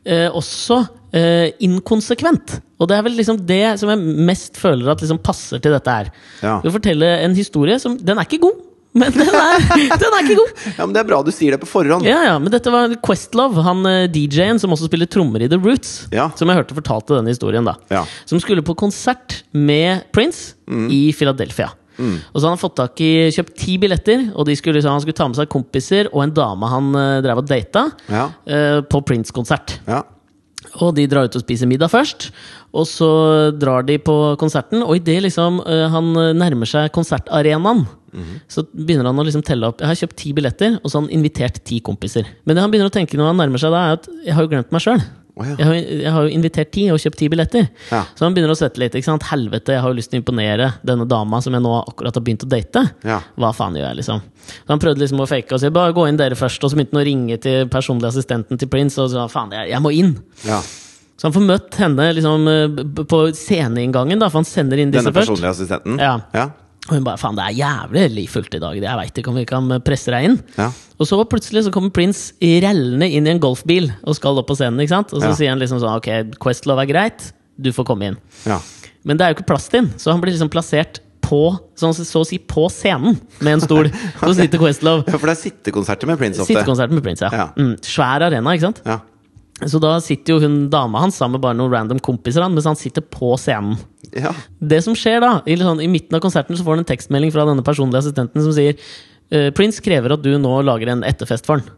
eh, også eh, inkonsekvent. Og det er vel liksom det som jeg mest føler at liksom passer til dette her.
Ja.
Du forteller en historie som Den er ikke god, men den er, [LAUGHS] den er ikke god!
Ja, men Det er bra du sier det på forhånd.
Ja, ja, Men dette var Questlove, han eh, DJ-en som også spiller trommer i The Roots.
Ja.
Som jeg hørte fortalte denne historien, da.
Ja. Mm.
Som skulle på konsert med Prince i Philadelphia. Og så hadde han fått tak i, kjøpt ti billetter, og de skulle, så han skulle ta med seg kompiser og en dame han eh, drev og data,
Ja.
eh, på Prince-konsert.
Ja.
Og de drar ut og spiser middag først. Og så drar de på konserten, og idet liksom, eh, han nærmer seg konsertarenaen,
Mhm.
så begynner han å liksom telle opp. Jeg har kjøpt ti billetter, og så har han invitert ti kompiser. Men det han begynner å tenke når han nærmer seg, da, er at jeg har jo glemt meg sjøl.
Å ja.
Jeg, har- jeg har jo invitert ti og kjøpt ti billetter.
Ja.
Så han begynner å svette litt. ikke sant? Helvete, jeg har jo lyst til å imponere denne dama som jeg nå akkurat har begynt å date.
Ja.
Hva faen gjør jeg, liksom? Så han prøvde liksom å fake og si bare gå inn dere først. Og så begynte han å ringe til personlig assistenten til Prince og sa faen, jeg, jeg må inn.
Ja.
Så han får møtt henne liksom, eh, b- på sceneinngangen, da, for han sender inn disse
Denne
først.
personlige assistenten.
Ja.
Ja.
Og hun bare 'faen, det er jævlig livfullt i dag', jeg veit ikke om vi kan eh, presse deg inn.
Ja.
Og så plutselig så kommer Prince rellende inn i en golfbil og skal opp på scenen. ikke sant? Og så
Ja.
sier han liksom sånn 'ok, Questlove er greit, du får komme inn'.
Ja.
Men det er jo ikke plass til den, så han blir liksom plassert på, sånn, så å si på scenen med en
[LAUGHS]
stol. Så sitter Questlove.
ja, for det er sittekonserter med Prince ofte.
Sittekonserten med Prince, ja.
Ja.
Mm, svær arena, ikke sant?
Ja.
Så da sitter jo hun dama hans sammen med bare noen random kompiser, han, mens han sitter på scenen.
ja.
Det som skjer da, i, litt sånn, I midten av konserten så får han en tekstmelding fra denne personlige assistenten som sier «Eh, Prince krever at du nå lager en etterfest for han.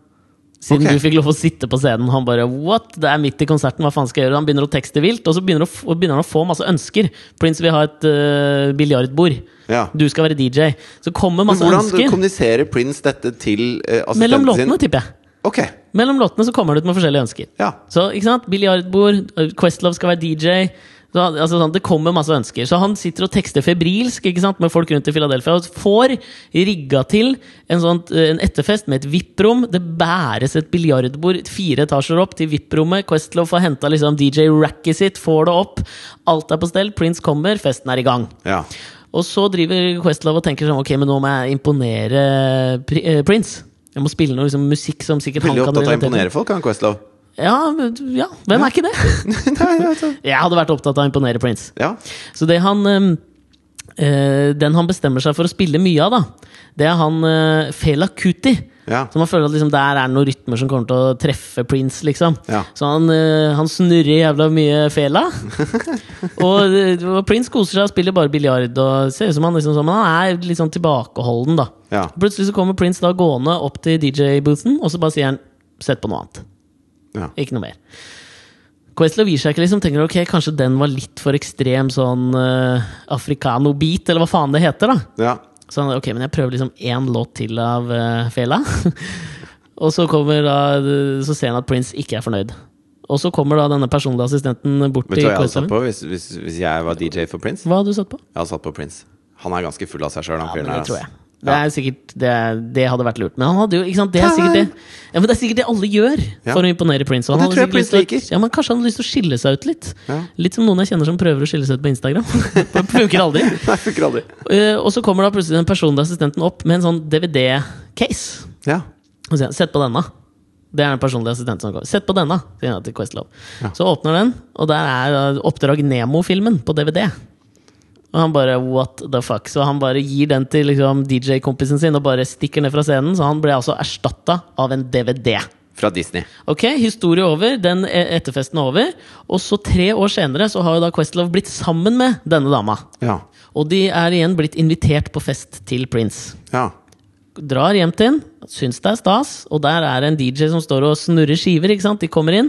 Siden
Ok.
du fikk lov å sitte på scenen. Han bare what? Det er midt i konserten, hva faen skal jeg gjøre? Han begynner å tekste vilt, og så begynner, å f- og begynner han å få masse ønsker. Prince vil ha et eh, biljardbord.
Ja.
Du skal være DJ. Så kommer
Men
masse
hvordan
ønsker.
kommuniserer Prince dette til eh,
Mellom
assistenten sin?
låtene, tipper jeg.
Ok.
Mellom låtene så kommer han ut med forskjellige ønsker.
Ja.
Så, ikke sant? Biljardbord, Questlove skal være DJ. Så, han- altså, sånn, det kommer masse ønsker. Så han sitter og tekster febrilsk ikke sant? med folk rundt i Philadelphia og får rigga til en, sånn, eh, en etterfest med et VIP-rom. Det bæres et biljardbord fire etasjer opp til VIP-rommet. Questlove får henta liksom, DJ-racket sitt, får det opp. Alt er på stell, Prince kommer, festen er i gang.
Ja.
Og så driver Questlove og tenker sånn Ok, men nå må jeg imponere Pri- eh, Prince. Jeg må spille noe liksom, musikk som sikkert han
Veldig
kan
opptatt av å
relatere til.
imponere folk, han Questlove.
Ja, men- ja, hvem er ikke det?
Nei, altså.
Jeg hadde vært opptatt av å imponere Prince.
Ja.
Så det han ehm, eh, Den han bestemmer seg for å spille mye av, da, det er han eh, Fela Kuti.
Ja.
Så man føler at liksom, der er det noen rytmer som kommer til å treffe Prince. liksom
Ja.
Så han, eh, han snurrer jævla mye fela. og, eh, og Prince koser seg og spiller bare biljard. Og ser ut som han liksom sånn, men han er litt sånn tilbakeholden, da.
Ja.
Plutselig så kommer Prince da gående opp til DJ-boothen, og så bare sier han 'sett på noe annet'.
Ja.
Ikke noe mer. Questlove gir seg ikke, liksom. Tenker ok, kanskje den var litt for ekstrem sånn uh, africano-beat, eller hva faen det heter, da.
ja.
Så han, ok, men jeg prøver liksom én låt til av eh, Fela. [LAUGHS] og så kommer da eh, Så ser han at Prince ikke er fornøyd. Og så kommer da denne personlige assistenten bort
Vet du
til
hva jeg hadde satt
Questlove.
på hvis, hvis, hvis jeg var DJ for Prince?
Hva hadde du satt på?
Jeg hadde satt på Prince. Han er ganske full av seg sjøl, han
Ja, men
fyren
det
her.
tror jeg.
ass.
Det er sikkert det, det hadde vært lurt. Men han hadde jo, ikke sant, det er sikkert det ja, Men det er sikkert det alle gjør
Ja.
for å imponere Prince. Og
Og det
hadde
tror jeg
sikkert lyst
Prince
til å-
liker.
Ja, men Kanskje han hadde lyst til å skille seg ut litt.
Ja.
Litt som noen jeg kjenner som prøver å skille seg ut på Instagram. [LAUGHS] det funker aldri.
[LAUGHS] Nei, funker aldri.
Eh, og så kommer da plutselig den personlige assistenten opp med en sånn DVD-case.
Ja.
Og sier han, Sett på denne. Det er den personlige assistenten som kommer. Sett på denne, sier han til Questlove. Så åpner den, og der er eh, Oppdrag Nemo-filmen på DVD. Og han bare what the fuck. Så han bare gir den til liksom, DJ-kompisen sin og bare stikker ned fra scenen. Så han ble altså erstatta av en DVD.
fra Disney.
Ok, Historie over, den e- etterfesten er over. Og så tre år senere så har jo da Questlove blitt sammen med denne dama.
Ja.
Og de er igjen blitt invitert på fest til Prince.
ja.
Drar hjem til han, syns det er stas, og der er det en DJ som står og snurrer skiver. ikke sant? De kommer inn,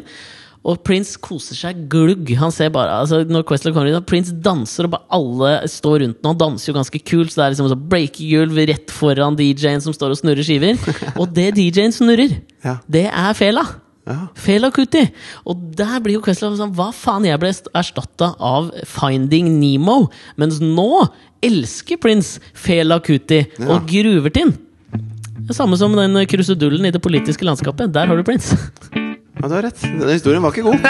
og Prince koser seg glugg. Han ser bare, altså Når Questlove kommer inn, og Prince danser, og bare alle står rundt ham. Han danser jo ganske kult, så det er liksom sånn breakegulv rett foran DJ-en som står og snurrer skiver. Og det DJ-en snurrer,
Ja.
det er fela.
Ja.
Fela Kuti. Og der blir jo Questlove sånn Hva faen, jeg ble erstatta av Finding Nemo. Mens nå elsker Prince Fela Kuti
Ja.
og gruver til den. Det er Samme som den krusedullen i det politiske landskapet. Der har du Prince.
ja, du har rett. Denne historien
[LAUGHS]
var ikke god.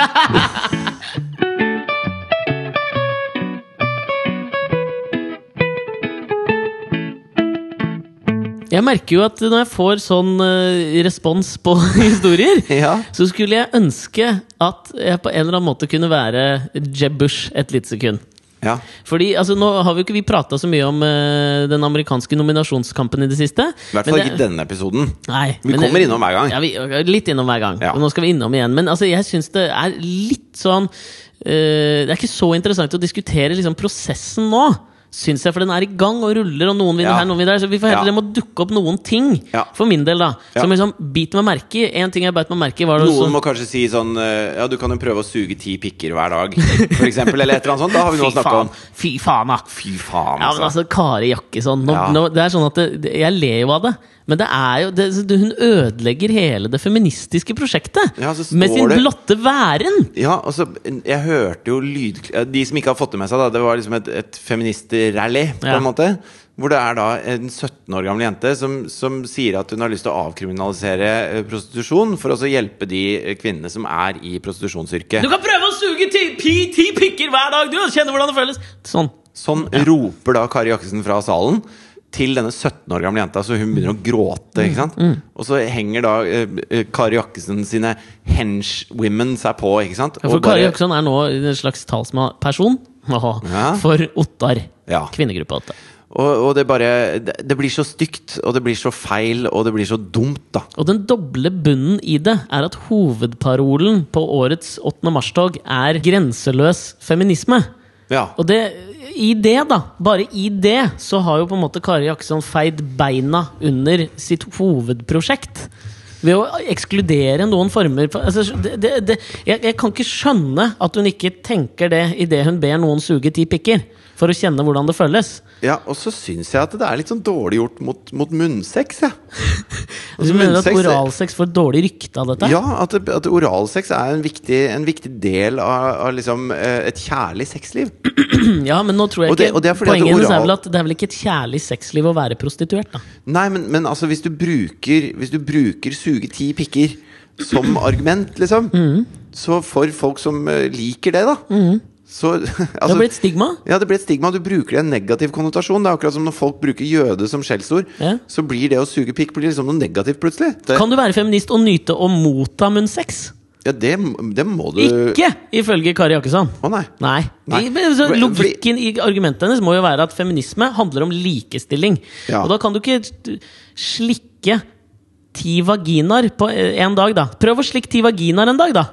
Jeg merker jo at når jeg får sånn eh, respons på [LAUGHS] historier,
Ja.
så skulle jeg ønske at jeg på en eller annen måte kunne være Jeb Bush et lite sekund.
Ja.
Fordi, altså Nå har vi jo ikke vi prata så mye om eh, den amerikanske nominasjonskampen i det siste.
I hvert fall ikke i denne episoden.
Nei,
Vi
men-
kommer innom hver gang.
Ja, vi, litt innom hver gang.
Ja.
Og nå skal vi innom igjen. Men altså, jeg syns det er litt sånn eh, Det er ikke så interessant å diskutere liksom, prosessen nå. Syns jeg, for den er i gang og ruller, og noen vinner
Ja.
her, noen vinner der. Så vi får heller
Ja.
det må dukke opp noen ting,
Ja.
for min del, da.
Ja.
Som liksom bit meg merke i. En ting jeg beit meg merke i, var det
Noen
også-
må kanskje si sånn eh, Ja, du kan jo prøve å suge ti pikker hver dag, for eksempel. Eller et eller annet sånt. Da har vi noe å
Fy
snakke
faen!
om.
Fy faen, da!
Fy faen,
Ja, men
altså.
altså, Kari Jakkesson nå,
Ja.
nå, Det er sånn at det, det- Jeg ler jo av det, men det er jo det, det, hun ødelegger hele det feministiske prosjektet!
Ja, så står
med sin
det-
blotte væren!
Ja, altså, jeg hørte jo lyd... De som ikke har fått det med seg, da, det var liksom et, et feministrally, på
Ja.
en måte. Hvor det er da en 17 år gammel jente som, som sier at hun har lyst til å avkriminalisere eh, prostitusjon for å så hjelpe de eh, kvinnene som er i
Du
prostitusjonsyrket.
kan prøve å suge ti, pi, ti pikker hver dag! Du kjenner hvordan det føles! Sånn.
Sånn roper da Kari Jakkesen fra salen til denne 17 år gamle jenta, så hun begynner å gråte. ikke sant?
Mm.
Og så henger da eh, eh, Kari Jakkesen sine henchwomen seg på, ikke sant?
For
Og
Kari
bare-
Jakkesson er nå en slags talsperson Åh,
Ja.
for Ottar.
Ja.
Kvinnegruppa Ottar.
Og, og det bare det, det blir så stygt, og det blir så feil, og det blir så dumt, da.
Og den doble bunnen i det er at hovedparolen på årets 8. mars-tog er 'grenseløs feminisme'.
Ja.
Og det, i det da, bare i det, så har jo på en måte Kari Jakkesson feid beina under sitt hovedprosjekt. Ved å ekskludere noen former for altså, det, det, det, jeg, jeg kan ikke skjønne at hun ikke tenker det idet hun ber noen suge ti pikker. For å kjenne hvordan det føles.
ja, og så syns jeg at det er litt sånn dårlig gjort mot, mot munnsex, jeg.
Du
Altså,
mener at
munnsex-
oralsex får dårlig rykte av dette?
Ja, at, det- at oralsex er en viktig, en viktig del av, av liksom eh, et kjærlig sexliv.
Mm, Ja, men nå tror jeg
Og det-
ikke
og det er fordi at
Poenget hennes er vel
oral-
at det er vel ikke et kjærlig sexliv å være prostituert, da.
Nei, men, men altså, hvis du bruker Hvis du bruker suge ti pikker som [CLEARS THROAT] argument, liksom,
Mm.
så for folk som eh, liker det, da Så [LAUGHS]
Det
altså,
har blitt stigma.
Ja, det blir et stigma. Du bruker det i en negativ konnotasjon. Det er akkurat som når folk bruker jøde som skjellsord.
Ja.
Så blir det å suge pikk blir liksom noe negativt plutselig. Det,
Kan du være feminist og nyte å motta munnsex?
ja, det, det må du
Ikke ifølge Kari Jakkesson.
Å nei.
Nei.
Nei.
Men så
Fordi-
Logikken i argumentet hennes må jo være at feminisme handler om likestilling.
Ja.
Og da kan du ikke t- slikke ti vaginaer på én dag, da. Prøv å slikke ti vaginaer en dag, da.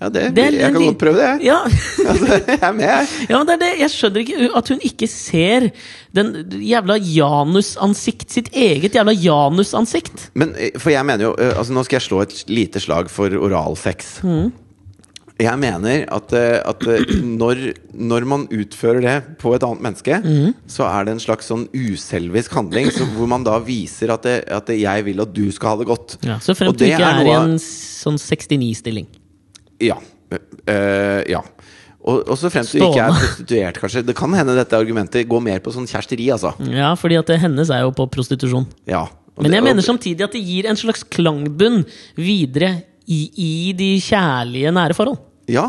Ja, det,
Det er-
jeg kan godt prøve det, jeg.
Ja.
[LAUGHS] Altså, jeg er med, jeg.
ja, men det er det. Jeg skjønner ikke at hun ikke ser den jævla janusansikt sitt eget jævla janusansikt.
Men eh, for jeg mener jo eh, Altså, nå skal jeg slå et lite slag for oralsex.
Mm.
Jeg mener at, eh, at eh, når, når man utfører det på et annet menneske,
Mm.
så er det en slags sånn uselvisk handling så, hvor man da viser at, det, at det, jeg vil at du skal ha det godt.
Ja, så fremt
Og
du
det
ikke er,
noe
i
av-
en sånn 69-stilling.
Ja. Eh, ja. Og, og så fremst du ikke er
Stående.
prostituert, kanskje. Det kan hende dette argumentet går mer på sånn kjæresteri, altså.
Ja, fordi at det hennes er jo på prostitusjon.
Ja. Og
Men jeg
det-
mener
og-
samtidig at det gir en slags klangbunn videre i, i de kjærlige nære forhold.
Ja.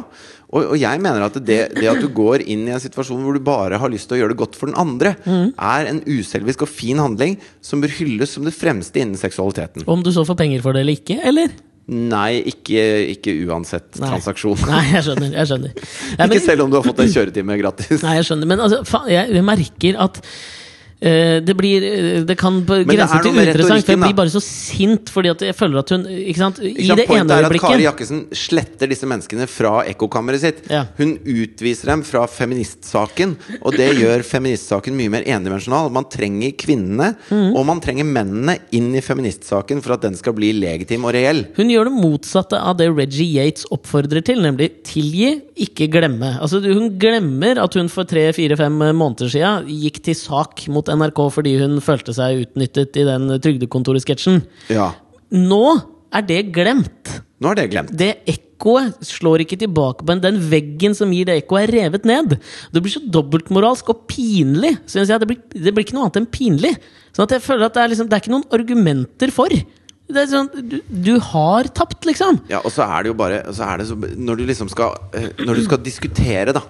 Og, og jeg mener at det, det at du går inn i en situasjon hvor du bare har lyst til å gjøre det godt for den andre, er en uselvisk og fin handling som bør hylles som det fremste innen seksualiteten.
Om du så får penger for det eller ikke, eller?
Nei, ikke, ikke uansett
Nei.
transaksjon. [LAUGHS]
Nei, jeg skjønner. jeg skjønner Nei, men,
Ikke selv om du har fått en kjøretime gratis.
Nei, jeg skjønner. Men altså, faen, jeg, jeg merker at Eh, det blir eh, Det kan på
det er
grense
noe
til
med
uinteressant, for jeg
retorikken, da.
blir bare så sint fordi at jeg føler at hun Ikke sant? I
Ikke sant?
det
Pointet
ene
er at Kari
øyeblikket
Jakkesen sletter disse menneskene fra ekkokammeret sitt.
Ja.
Hun utviser dem fra feministsaken, og det gjør feministsaken mye mer endimensjonal. Man trenger kvinnene,
Mm.
og man trenger mennene inn i feministsaken for at den skal bli legitim og reell.
hun gjør det motsatte av det Reggie Yates oppfordrer til, nemlig tilgi, ikke glemme. Altså, du- hun glemmer at hun for tre-fire-fem måneder siden gikk til sak mot NRK fordi hun følte seg utnyttet i den Trygdekontoret-sketsjen.
Ja.
Nå er det glemt.
Nå er det glemt.
det ekkoet slår ikke tilbake på en. Den veggen som gir det ekkoet, er revet ned. Det blir så dobbeltmoralsk og pinlig. Synes jeg. Det, blir, det blir ikke noe annet enn pinlig. Sånn at jeg føler at det er, liksom, det er ikke noen argumenter for. Det er sånn, du, du har tapt, liksom.
Ja, og så er det jo bare så er det så, Når du liksom skal eh, Når du skal diskutere, da,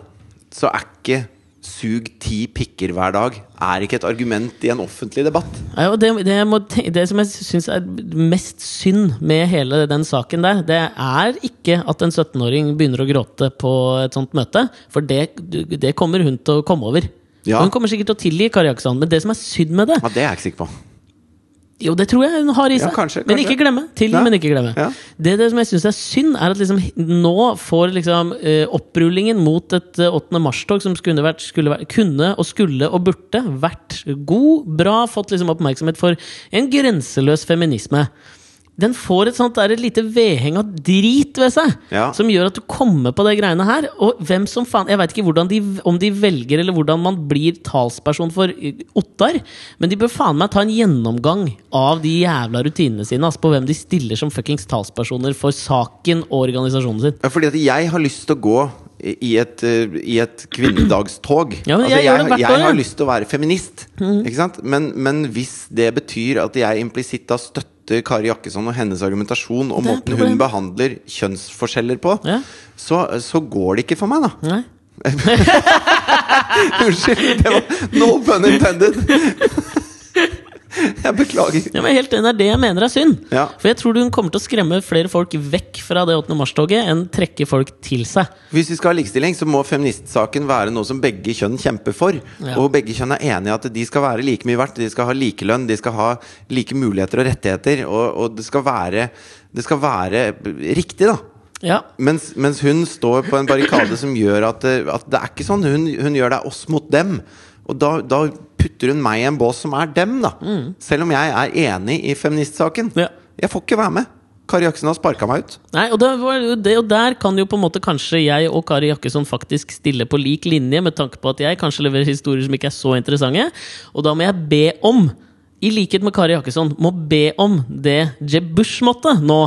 så er ikke Sug ti pikker hver dag er ikke et argument i en offentlig debatt.
Ja, og det, det, jeg må ten- det som jeg syns er mest synd med hele den saken der, det er ikke at en 17-åring begynner å gråte på et sånt møte. For det, det kommer hun til å komme over.
Ja.
Hun kommer sikkert til å tilgi Kari Jakkesson, men det som er synd med det,
Ja, det er jeg ikke sikker på.
Jo, det tror jeg hun har i
Ja,
seg.
kanskje,
Men
kanskje.
ikke glemme. Til,
Ja.
men ikke glemme.
Ja.
Det, det som jeg syns er synd, er at liksom, nå får liksom, eh, opprullingen mot et eh, 8. mars-tog som skulle vært, skulle vært, kunne og skulle og burde vært god, bra, fått liksom, oppmerksomhet for en grenseløs feminisme. Den får et sånt der, et lite vedheng av drit ved seg,
Ja.
som gjør at du kommer på de greiene her. Og hvem som faen Jeg veit ikke hvordan de, om de velger, eller hvordan man blir talsperson for eh, Ottar, men de bør faen meg ta en gjennomgang av de jævla rutinene sine. Altså på hvem de stiller som fuckings talspersoner for saken og organisasjonen sin.
Ja, Fordi at jeg har lyst til å gå i i et, eh, i et kvinnedagstog. Altså,
Ja, men jeg gjør det hvert
jeg,
år, Mhm. ja.
har lyst til å være feminist. Ikke sant? Men, men hvis det betyr at jeg implisitt da støtter Kari Jakkesson og hennes argumentasjon
Det
og
er
måten hun
problemet.
behandler kjønnsforskjeller på,
Ja.
så, så går det ikke for meg, da. [LAUGHS]
Nei.
Unnskyld, det var no pun intended. [LAUGHS] Jeg beklager.
Ja, men helt enig, Det er det jeg mener er synd.
Ja.
For jeg tror hun kommer til å skremme flere folk vekk fra det 8. mars-toget enn trekke folk til seg.
Hvis vi skal ha likestilling, så må feministsaken være noe som begge kjønn kjemper for.
Ja.
Og begge kjønn er enige i at de skal være like mye verdt, de skal ha likelønn, de skal ha like muligheter og rettigheter, og, og det, skal være, det skal være riktig, da.
Ja,
Mens, mens hun står på en barrikade som gjør at, det- at det er ikke sånn. Hun, hun gjør det er oss mot dem. Og da, da putter hun meg i en bås som er dem, da. Selv om jeg er enig i feministsaken.
Mm. Ja.
Jeg får ikke være med. Kari Jaksen har sparka meg ut.
Nei, og, det, var jo det, og der kan jo på en måte kanskje jeg og Kari Jakkesson faktisk stille på lik linje, med tanke på at jeg kanskje leverer historier som ikke er så interessante. Og da må jeg be om, i likhet med Kari Jakkesson, må be om det Jeb Bush måtte nå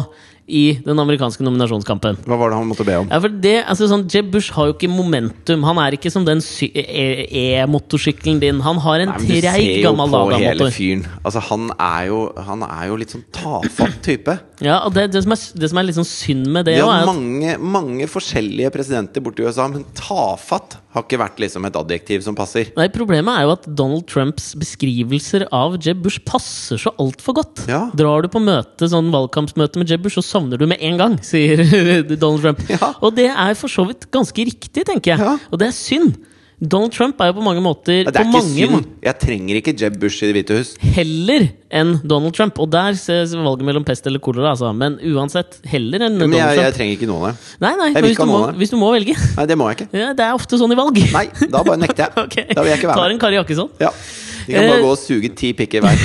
i den amerikanske nominasjonskampen.
Hva var det han måtte be om?
Ja, for det, altså sånn, Jeb Bush har jo ikke momentum. Han er ikke som den sy- e- E-motorsykkelen din. Han har en
Nei, men du
treig,
ser jo
gammel
på hele
Lada-motor.
fyren. Altså, han er jo, han er jo litt sånn tafatt type.
Ja, og det, det, som er, det som er litt sånn synd med det,
Vi
også,
har
er at
mange, mange forskjellige presidenter borti USA, men tafatt har ikke vært liksom et adjektiv som passer.
Nei, Problemet er jo at Donald Trumps beskrivelser av Jeb Bush passer så altfor godt.
Ja.
Drar du på møte, sånn valgkampsmøte med Jeb Bush, så sovner du med en gang, [LAUGHS] sier Donald Trump.
Ja.
Og det er for så vidt ganske riktig, tenker jeg.
Ja.
Og det er synd. Donald Trump er jo på mange måter
Ja, Det er
på
ikke
mange
synd. Jeg trenger ikke Jeb Bush i Det hvite hus.
må- heller enn Donald Trump. Og der ses valget mellom pest eller kolera, altså. Men uansett, heller enn
Men
Donald
jeg, jeg
Trump.
trenger ikke noen av dem.
Nei, nei,
vil
men hvis du,
ikke ha
må,
noen av dem.
hvis du må velge. [LAUGHS]
Nei, det må jeg ikke.
Ja, det er ofte sånn i valg.
Nei, da bare nekter jeg.
[LAUGHS] Ok.
Da vil jeg ikke være
Tar en
med.
Kari Jakkesson.
Ja. De kan
Eh.
bare gå og suge ti pikker hver.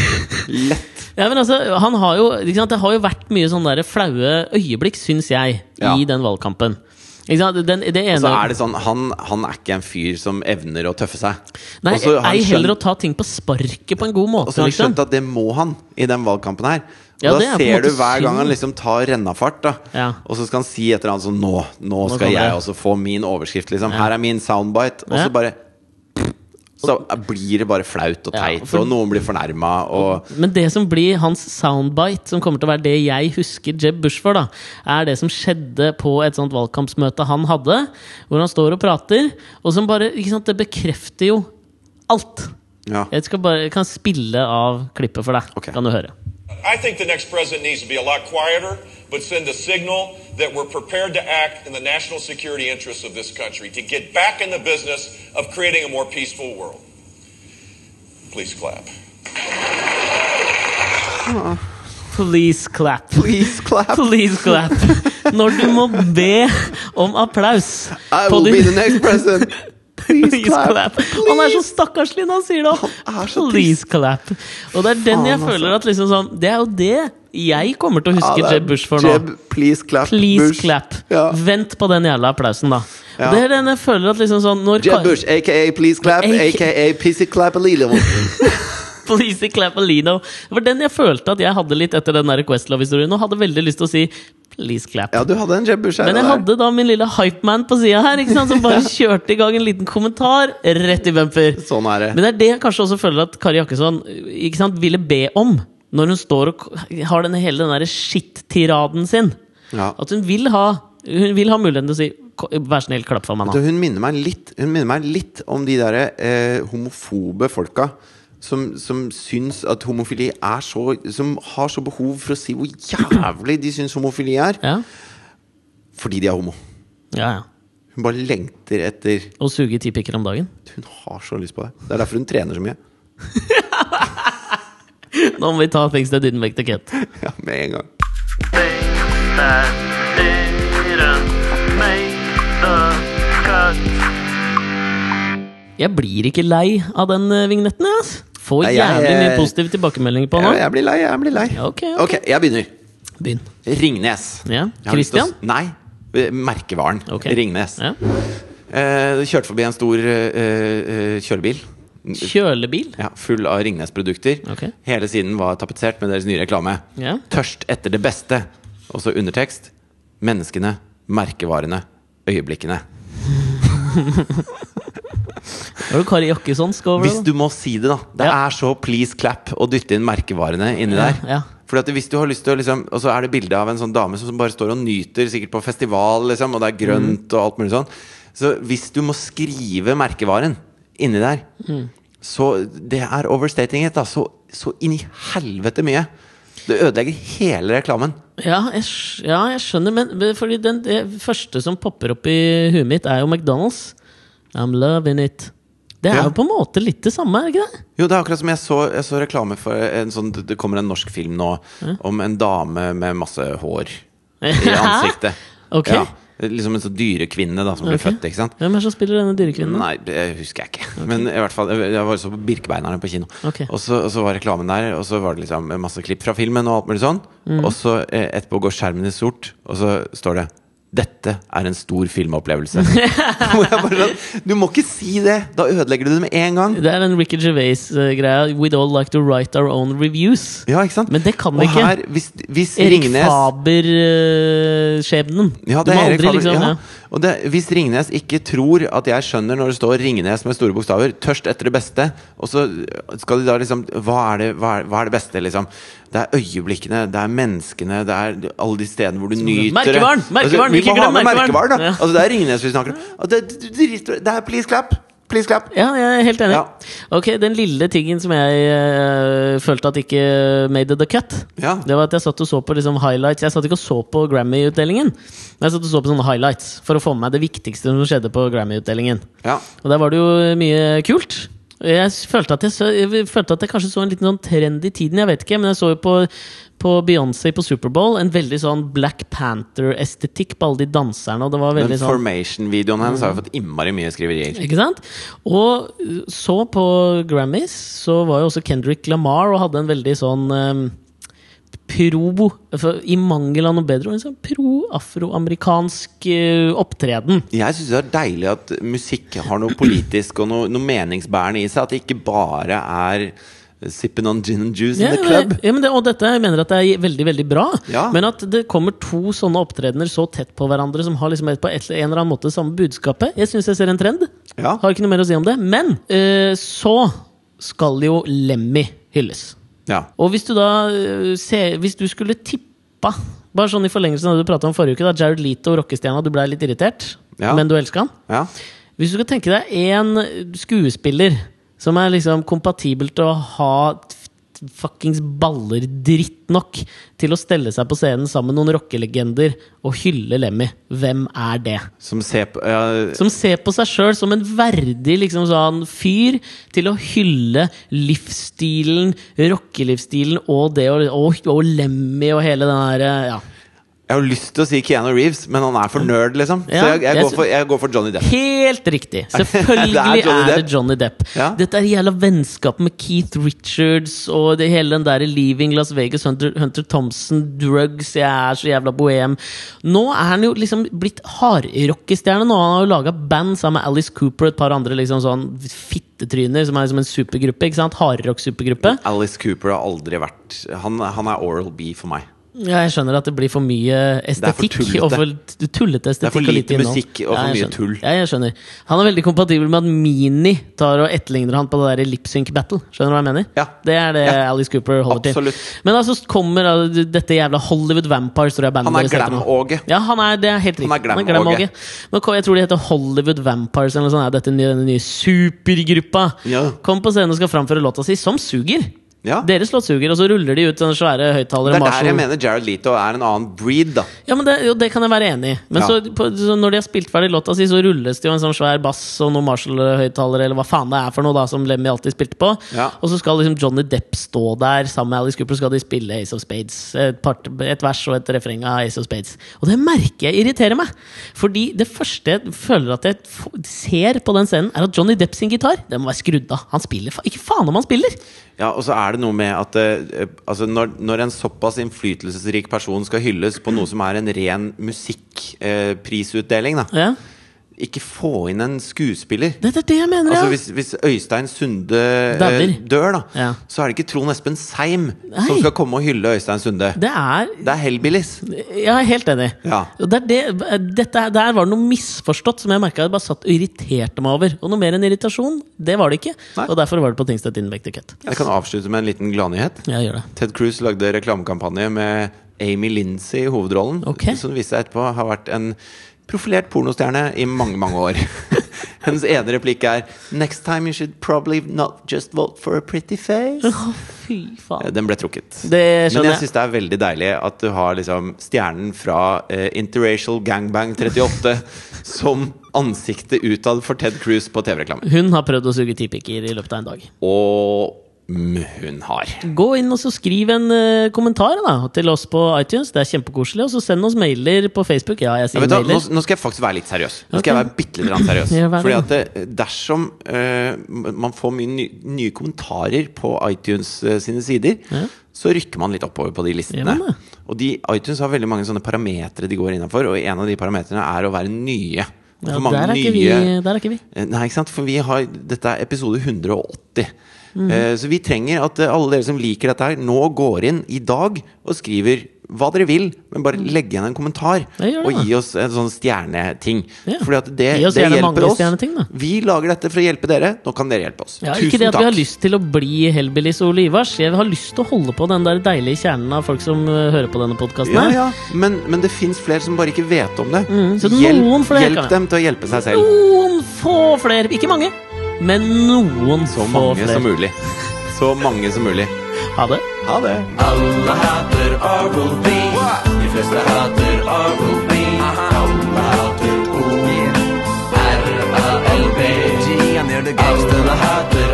Lett.
[LAUGHS] Ja, men altså, han har jo, ikke sant, Det har jo vært mye sånne der flaue øyeblikk, syns jeg,
Ja.
i den valgkampen. Ikke sant? Den, det ene,
Så er det sånn, han, han er ikke en fyr som evner å tøffe seg.
Nei,
Og så har han
ei heller
skjønt-
å ta ting på sparket på en god
Og
måte.
så har han
liksom.
skjønt at det må han i den valgkampen her. Og
Ja, det er
da
på en
ser du
måte
hver gang han
synd.
liksom tar rennafart, da.
Ja.
Og så skal han si et eller annet sånn Nå, nå
kommer
skal jeg
det."
også få min overskrift, liksom. Her er min soundbite. Og
Ja.
så bare Så blir det bare flaut og
Ja,
teit,
for-
og noen blir fornærma, og
liksom. Men det som blir hans soundbite, som kommer til å være det jeg husker Jeb Bush for, da, er det som skjedde på et sånt valgkampsmøte han hadde, hvor han står og prater, og som bare ikke sant, Det bekrefter jo alt.
Ja.
Jeg skal bare, jeg kan spille av klippet for deg.
Ok.
Kan du høre.
I think the next president needs to be a lot quieter, but send a signal that we're prepared to act in the national security interests of this country to get back in the business of creating a more peaceful world. Please clap.
Please clap.
Please clap.
[LAUGHS] Please clap. Når du må be om applaus
I
på
will
din-
be
[LAUGHS]
the next president. Please,
Please clap. Han er så stakkarslig når han sier det!
Han er så
Please clap. Og det er den jeg
Faen, altså.
føler at liksom sånn Det er jo det jeg kommer til å huske
det er
Jeb Bush for nå.
Jeb, please clap.
Please
Bush.
clap.
Ja.
Vent på den jævla applausen, da.
Ja.
Og Det er den jeg føler at liksom sånn når
Jeb
Kar-
Bush, aka Please Clap,
AK.
aka Pissy Clap a Lilo.
[LAUGHS] Please clap Alino. Det var den jeg følte at jeg hadde litt etter den der Questlove-historien, og hadde veldig lyst til å si please clap.
Ja, du hadde en Jeb Bush her.
Men jeg
og der.
hadde da min lille hypeman på sida her, ikke sant? som
[LAUGHS]
bare kjørte i gang en liten kommentar rett i bumper.
Sånn er det.
Men det er det jeg kanskje også føler at Kari Jakkesson ikke sant, ville be om, når hun står og k- har denne, hele den der skitt-tiraden sin.
Ja.
At hun vil ha Hun vil ha muligheten til å si "Ko- Vær snill, klapp for meg
Så
nå.
hun minner meg litt Hun minner meg litt om de der eh, homofobe folka som, som syns at homofili er så Som har så behov for å si hvor jævlig de syns homofili er,
Ja,
fordi de er homo.
ja, ja.
Hun bare lengter etter
Og suge ti pikker om dagen.
Hun har så lyst på det. Det er derfor hun trener så mye. [LAUGHS]
Nå må vi ta things that didn't make the cut.
Ja, med en gang.
Jeg blir ikke lei av den eh, vignetten, jeg. ass. Får
Nei, jeg-
jævlig mye positive tilbakemeldinger på
Jeg,
nå.
jeg blir lei, jeg blir lei.
Ok, ok.
ok, jeg begynner.
Begynn.
Ringnes.
Ja,
Jeg har lyst til å s-
Christian?
Nei. eh, Merkevaren.
Ok.
Ringnes.
Ja.
Eh, kjørte forbi en stor eh, eh, kjølebil.
Kjølebil?
Ja, Full av Ringnes-produkter.
Ok.
Hele siden var tapetsert med deres nye reklame.
Ja.
Tørst etter det beste. Og så undertekst. Menneskene, merkevarene, øyeblikkene.
Var det Kari Jakkesson skal over
Hvis
det? da?
du må si det, da. Det
Ja.
er så please clap å dytte inn merkevarene inni
Ja,
der.
ja.
Fordi at hvis du har lyst til å liksom Og så er det bilde av en sånn dame som bare står og nyter, sikkert på festival, liksom, og det er
Mm.
grønt og alt mulig sånn. Så hvis du må skrive merkevaren inni der,
Mm.
så det er overstating it, da. Så, så inn i helvete mye. Det ødelegger hele reklamen.
Ja, jeg, skj- ja, jeg skjønner, men men fordi den, det første som popper opp i huet mitt, er jo McDonald's. I'm loving it. Det er
Ja.
jo på en måte litt det samme, er det ikke det?
Jo, det er akkurat som jeg så, jeg så reklame for en sånn Det kommer en norsk film nå om en dame med masse hår
[LAUGHS]
i ansiktet.
Ok.
liksom en sånn dyrekvinne da, som blir
Ok.
født, ikke sant?
Hvem er det som spiller denne dyrekvinnen?
Nei, det husker jeg ikke. Men i hvert fall, jeg var så på Birkebeinerne på kino.
Ok.
Og, så, og så var reklamen der, og så var det liksom masse klipp fra filmen. Og alt mulig sånn
Mm.
Og så eh, etterpå går skjermen i sort, og så står det 'Dette er en
[LAUGHS]
stor filmopplevelse'. Hvor jeg bare sånn, du må ikke si det! Da ødelegger du det med en gang.
Det er den Ricky Gervais-greia. We'd all like to write our own reviews.
Ja, ikke sant?
Men det kan
og
vi ikke.
Her, hvis, hvis
Erik
Ringnes
Faber-skjebnen.
ja, det
du
er
må
Erik
aldri
Faber,
liksom
ja.
ja.
Og det, hvis Ringnes ikke tror at jeg skjønner når det står 'Ringnes' med store bokstaver, tørst etter det beste, og så skal de da liksom Hva er det, hva er, hva er det beste, liksom? Det er øyeblikkene, det er menneskene, det er alle de stedene hvor du nyter det. Altså,
Merkevaren, merkevaren,
vi
ikke
må ha
glem
med
merkevaren.
merkevaren, da!
Ja.
Altså, det er Ringnes vi snakker om. Og Det, det, det, det er please clap! Please clap!
Ja, jeg er helt enig.
Ja.
Ok, Den lille tingen som jeg eh, følte at ikke made the cut,
Ja.
det var at jeg satt og så på liksom, highlights. Jeg satt ikke og så på Grammy-utdelingen, men jeg satt og så på sånne highlights for å få med meg det viktigste som skjedde på Grammy-utdelingen.
Ja.
Og der var det jo mye kult. Og Jeg følte at jeg, så, jeg følte at jeg kanskje så en liten sånn trend i tiden, jeg vet ikke. Men jeg så jo på, på Beyoncé på Superbowl en veldig sånn Black Panther-estetikk på alle de danserne. Og det var
Men
veldig sånn
formation-videoen hennes har jo fått innmari mye skriverier.
ikke sant? Og uh, så på Grammys så var jo også Kendrick Lamar og hadde en veldig sånn um, pro for, I mangel av noe bedre, en sånn pro-afroamerikansk uh, opptreden.
Jeg syns det er deilig at musikk har noe politisk og noe, noe meningsbærende i seg. At det ikke bare er sipping on gin and juice in the club.
Ja, men det, og dette jeg mener at det er veldig veldig bra.
Ja.
Men at det kommer to sånne opptredener så tett på hverandre som har liksom et, på et, en eller annen måte samme budskapet. Jeg syns jeg ser en trend.
Ja.
Har ikke noe mer å si om det. Men eh, så skal jo Lemmy hylles.
Ja.
Og hvis du da øh, ser, Hvis du skulle tippa Bare sånn i forlengelsen av det du prata om forrige uke, da Jared Leto og rockestjerna, du blei litt irritert,
Ja.
men du elska han.
ja.
Hvis du skal tenke deg én skuespiller som er liksom kompatibel til å ha t- fuckings baller dritt nok til å stelle seg på scenen sammen med noen rockelegender og hylle Lemmy. Hvem er det?
Som ser på ja,
Som ser på seg sjøl som en verdig liksom, sånn, fyr til å hylle livsstilen, rockelivsstilen og det og, og, og Lemmy og hele den der eh, ja.
Jeg har lyst til å si Keanu Reeves, men han er for nerd, liksom. Så
Ja,
jeg, jeg,
jeg
går, for, jeg går for Johnny Depp.
Helt riktig! Selvfølgelig
[LAUGHS] Det er
er, det
Johnny Depp.
Johnny Depp.
Ja.
Dette er jævla vennskapet med Keith Richards og det hele den der Leaving Las Vegas, Hunter, Hunter Thompson, drugs, jeg er så jævla bohem. Nå er han jo liksom blitt hardrockestjerne nå. Han har jo laga band sammen med Alice Cooper og et par andre liksom sånn fittetryner, som er liksom en supergruppe. ikke sant? Hardrock-supergruppe.
Alice Cooper har aldri vært Han, han er Oral B for meg.
Ja, jeg skjønner at det blir for mye
er for
estetikk.
tullete.
og for t- tullete estetikk
Det er for
og lite
lite
innhold.
musikk og for
jeg
mye
skjønner.
tull.
Ja, jeg skjønner. Han er veldig kompatibel med at Mini tar og etterligner han på det der Lip Sync Battle. Skjønner du hva jeg mener?
Ja.
Det er det
Ja.
Alice Cooper holder
Absolutt.
til. Men altså så kommer da dette jævla Hollywood Vampires, tror jeg bandet
Han er
deres heter nå.
glam-Åge.
Ja, han er, det er helt riktig.
Han er glam-Åge.
glam-Åge. Men kom- jeg tror de heter Hollywood Vampires eller noe sånt. Er dette nye- denne nye supergruppa?
Ja.
Kom på scenen og skal framføre låta si, som suger.
Ja. Det,
Deres låt suger, og så ruller de ut sånne svære høyttalere.
er
Marshall-
der jeg mener Jared Leto er en annen breed, da.
ja, men det, jo, det kan jeg være enig i. Men
Ja.
så, på, så når de har spilt ferdig låta si, så rulles det jo en sånn svær bass og noen Marshall-høyttalere, eller hva faen det er for noe, da, som Lemmy alltid spilte på.
Ja.
Og så skal liksom Johnny Depp stå der sammen med Alice Cooper, og skal de spille Ace of Spades. Et, part, et vers og et refreng av Ace of Spades. Og det merker jeg irriterer meg! Fordi det første jeg føler at jeg f ser på den scenen, er at Johnny Depp sin gitar Den må være skrudd av. Han spiller fa ikke faen om han spiller!
Ja, Og så er det noe med at eh, eh, altså når, når en såpass innflytelsesrik person skal hylles på noe som er en ren musikkprisutdeling, da
Ja.
Ikke få inn en skuespiller.
Det er det jeg mener,
Altså
ja!
hvis, hvis Øystein Sunde eh,
Dauer.
dør, da,
Ja.
så er det ikke Trond Espen Seim som
Nei.
skal komme og hylle Øystein Sunde.
Det er
Det er Hellbillies.
Ja, jeg er helt enig.
Ja.
Og det er det, dette, er- der var det noe misforstått som jeg merka jeg bare satt og irriterte meg over. Og noe mer enn irritasjon, det var det ikke.
Nei.
Og derfor var det på Tingstedt Invector Cut.
Jeg kan avslutte med en liten gladnyhet.
Jeg gjør det.
Ted Cruz lagde reklamekampanje med Amy Lindsay i hovedrollen.
Ok.
Som viste seg etterpå har vært en profilert pornostjerne i mange, mange år. [LAUGHS] Hennes ene replikk er Next time you should probably not just vote for a pretty face.
Å, fy faen.
Den ble trukket.
Det skjønner
Men jeg
jeg.
syns det er veldig deilig at du har liksom stjernen fra eh, Interracial Gangbang 38 [LAUGHS] som ansiktet utad for Ted Cruz på TV-reklame.
Hun har prøvd å suge ti pikker i løpet av en dag.
Og mm, hun har.
Gå inn og så skriv en eh, kommentar da, til oss på iTunes. Det er kjempekoselig. Og så send oss mailer på Facebook. Ja, jeg
Ja,
sier
vet du, hva, nå,
mailer.
nå skal jeg faktisk være litt seriøs. Nå skal jeg
Ok.
være bitte litt seriøs
[LAUGHS] Ja, vær
Fordi
det.
at eh, dersom eh, man får mye ny, nye kommentarer på iTunes eh, sine sider,
Ja.
så rykker man litt oppover på de listene.
Gjør man det?
og de, iTunes har veldig mange sånne parametere de går innafor, og en av de parameterne er å være nye. Og
Ja,
for mange
der, er ikke vi,
nye-
der er ikke vi.
Eh, Nei, ikke sant? For vi har, dette er episode 180.
Mhm.
Eh, Så vi trenger at eh, alle dere som liker dette her, nå går inn i dag og skriver hva dere vil, men bare legg igjen en kommentar.
Mhm. Ja, gjør det,
Og
da.
gi oss en sånn stjerneting.
Ja.
Fordi at det,
Gi oss
det
gjerne mange
hjelper oss.
stjerneting, da.
Vi lager dette for å hjelpe dere. Nå kan dere hjelpe oss.
Ja,
Tusen
ikke det at
takk.
vi har lyst til å bli Hellbillies og Ole Ivars. Jeg har lyst til å holde på den der deilige kjernen av folk som eh, hører på denne podkasten.
ja, ja. Men, men det fins flere som bare ikke vet om det.
Mhm, så noen
hjelp
flere
hjelp
kan det.
dem til å hjelpe seg selv.
Noen få flere. Ikke mange, men noen
Så
få
mange
flere.
som mulig. Så mange som mulig.
Ha det.
Ha det.
Alla hatar Oral-B De flesta hatar Oral-B Alla hatar O R-A-L-B Alla hatar Oral-B För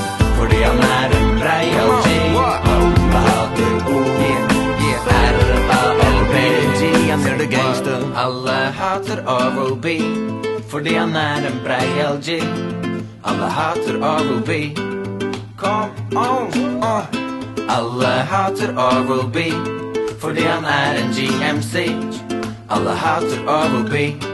det han är en royal G Alla hatar O R-A-L-B Alla hatar Oral-B För det han är en royal G Alla hatar Oral-B Kom on, uh. Alle hater Oral-B fordi han er en GMC. Alle hater Oral-B.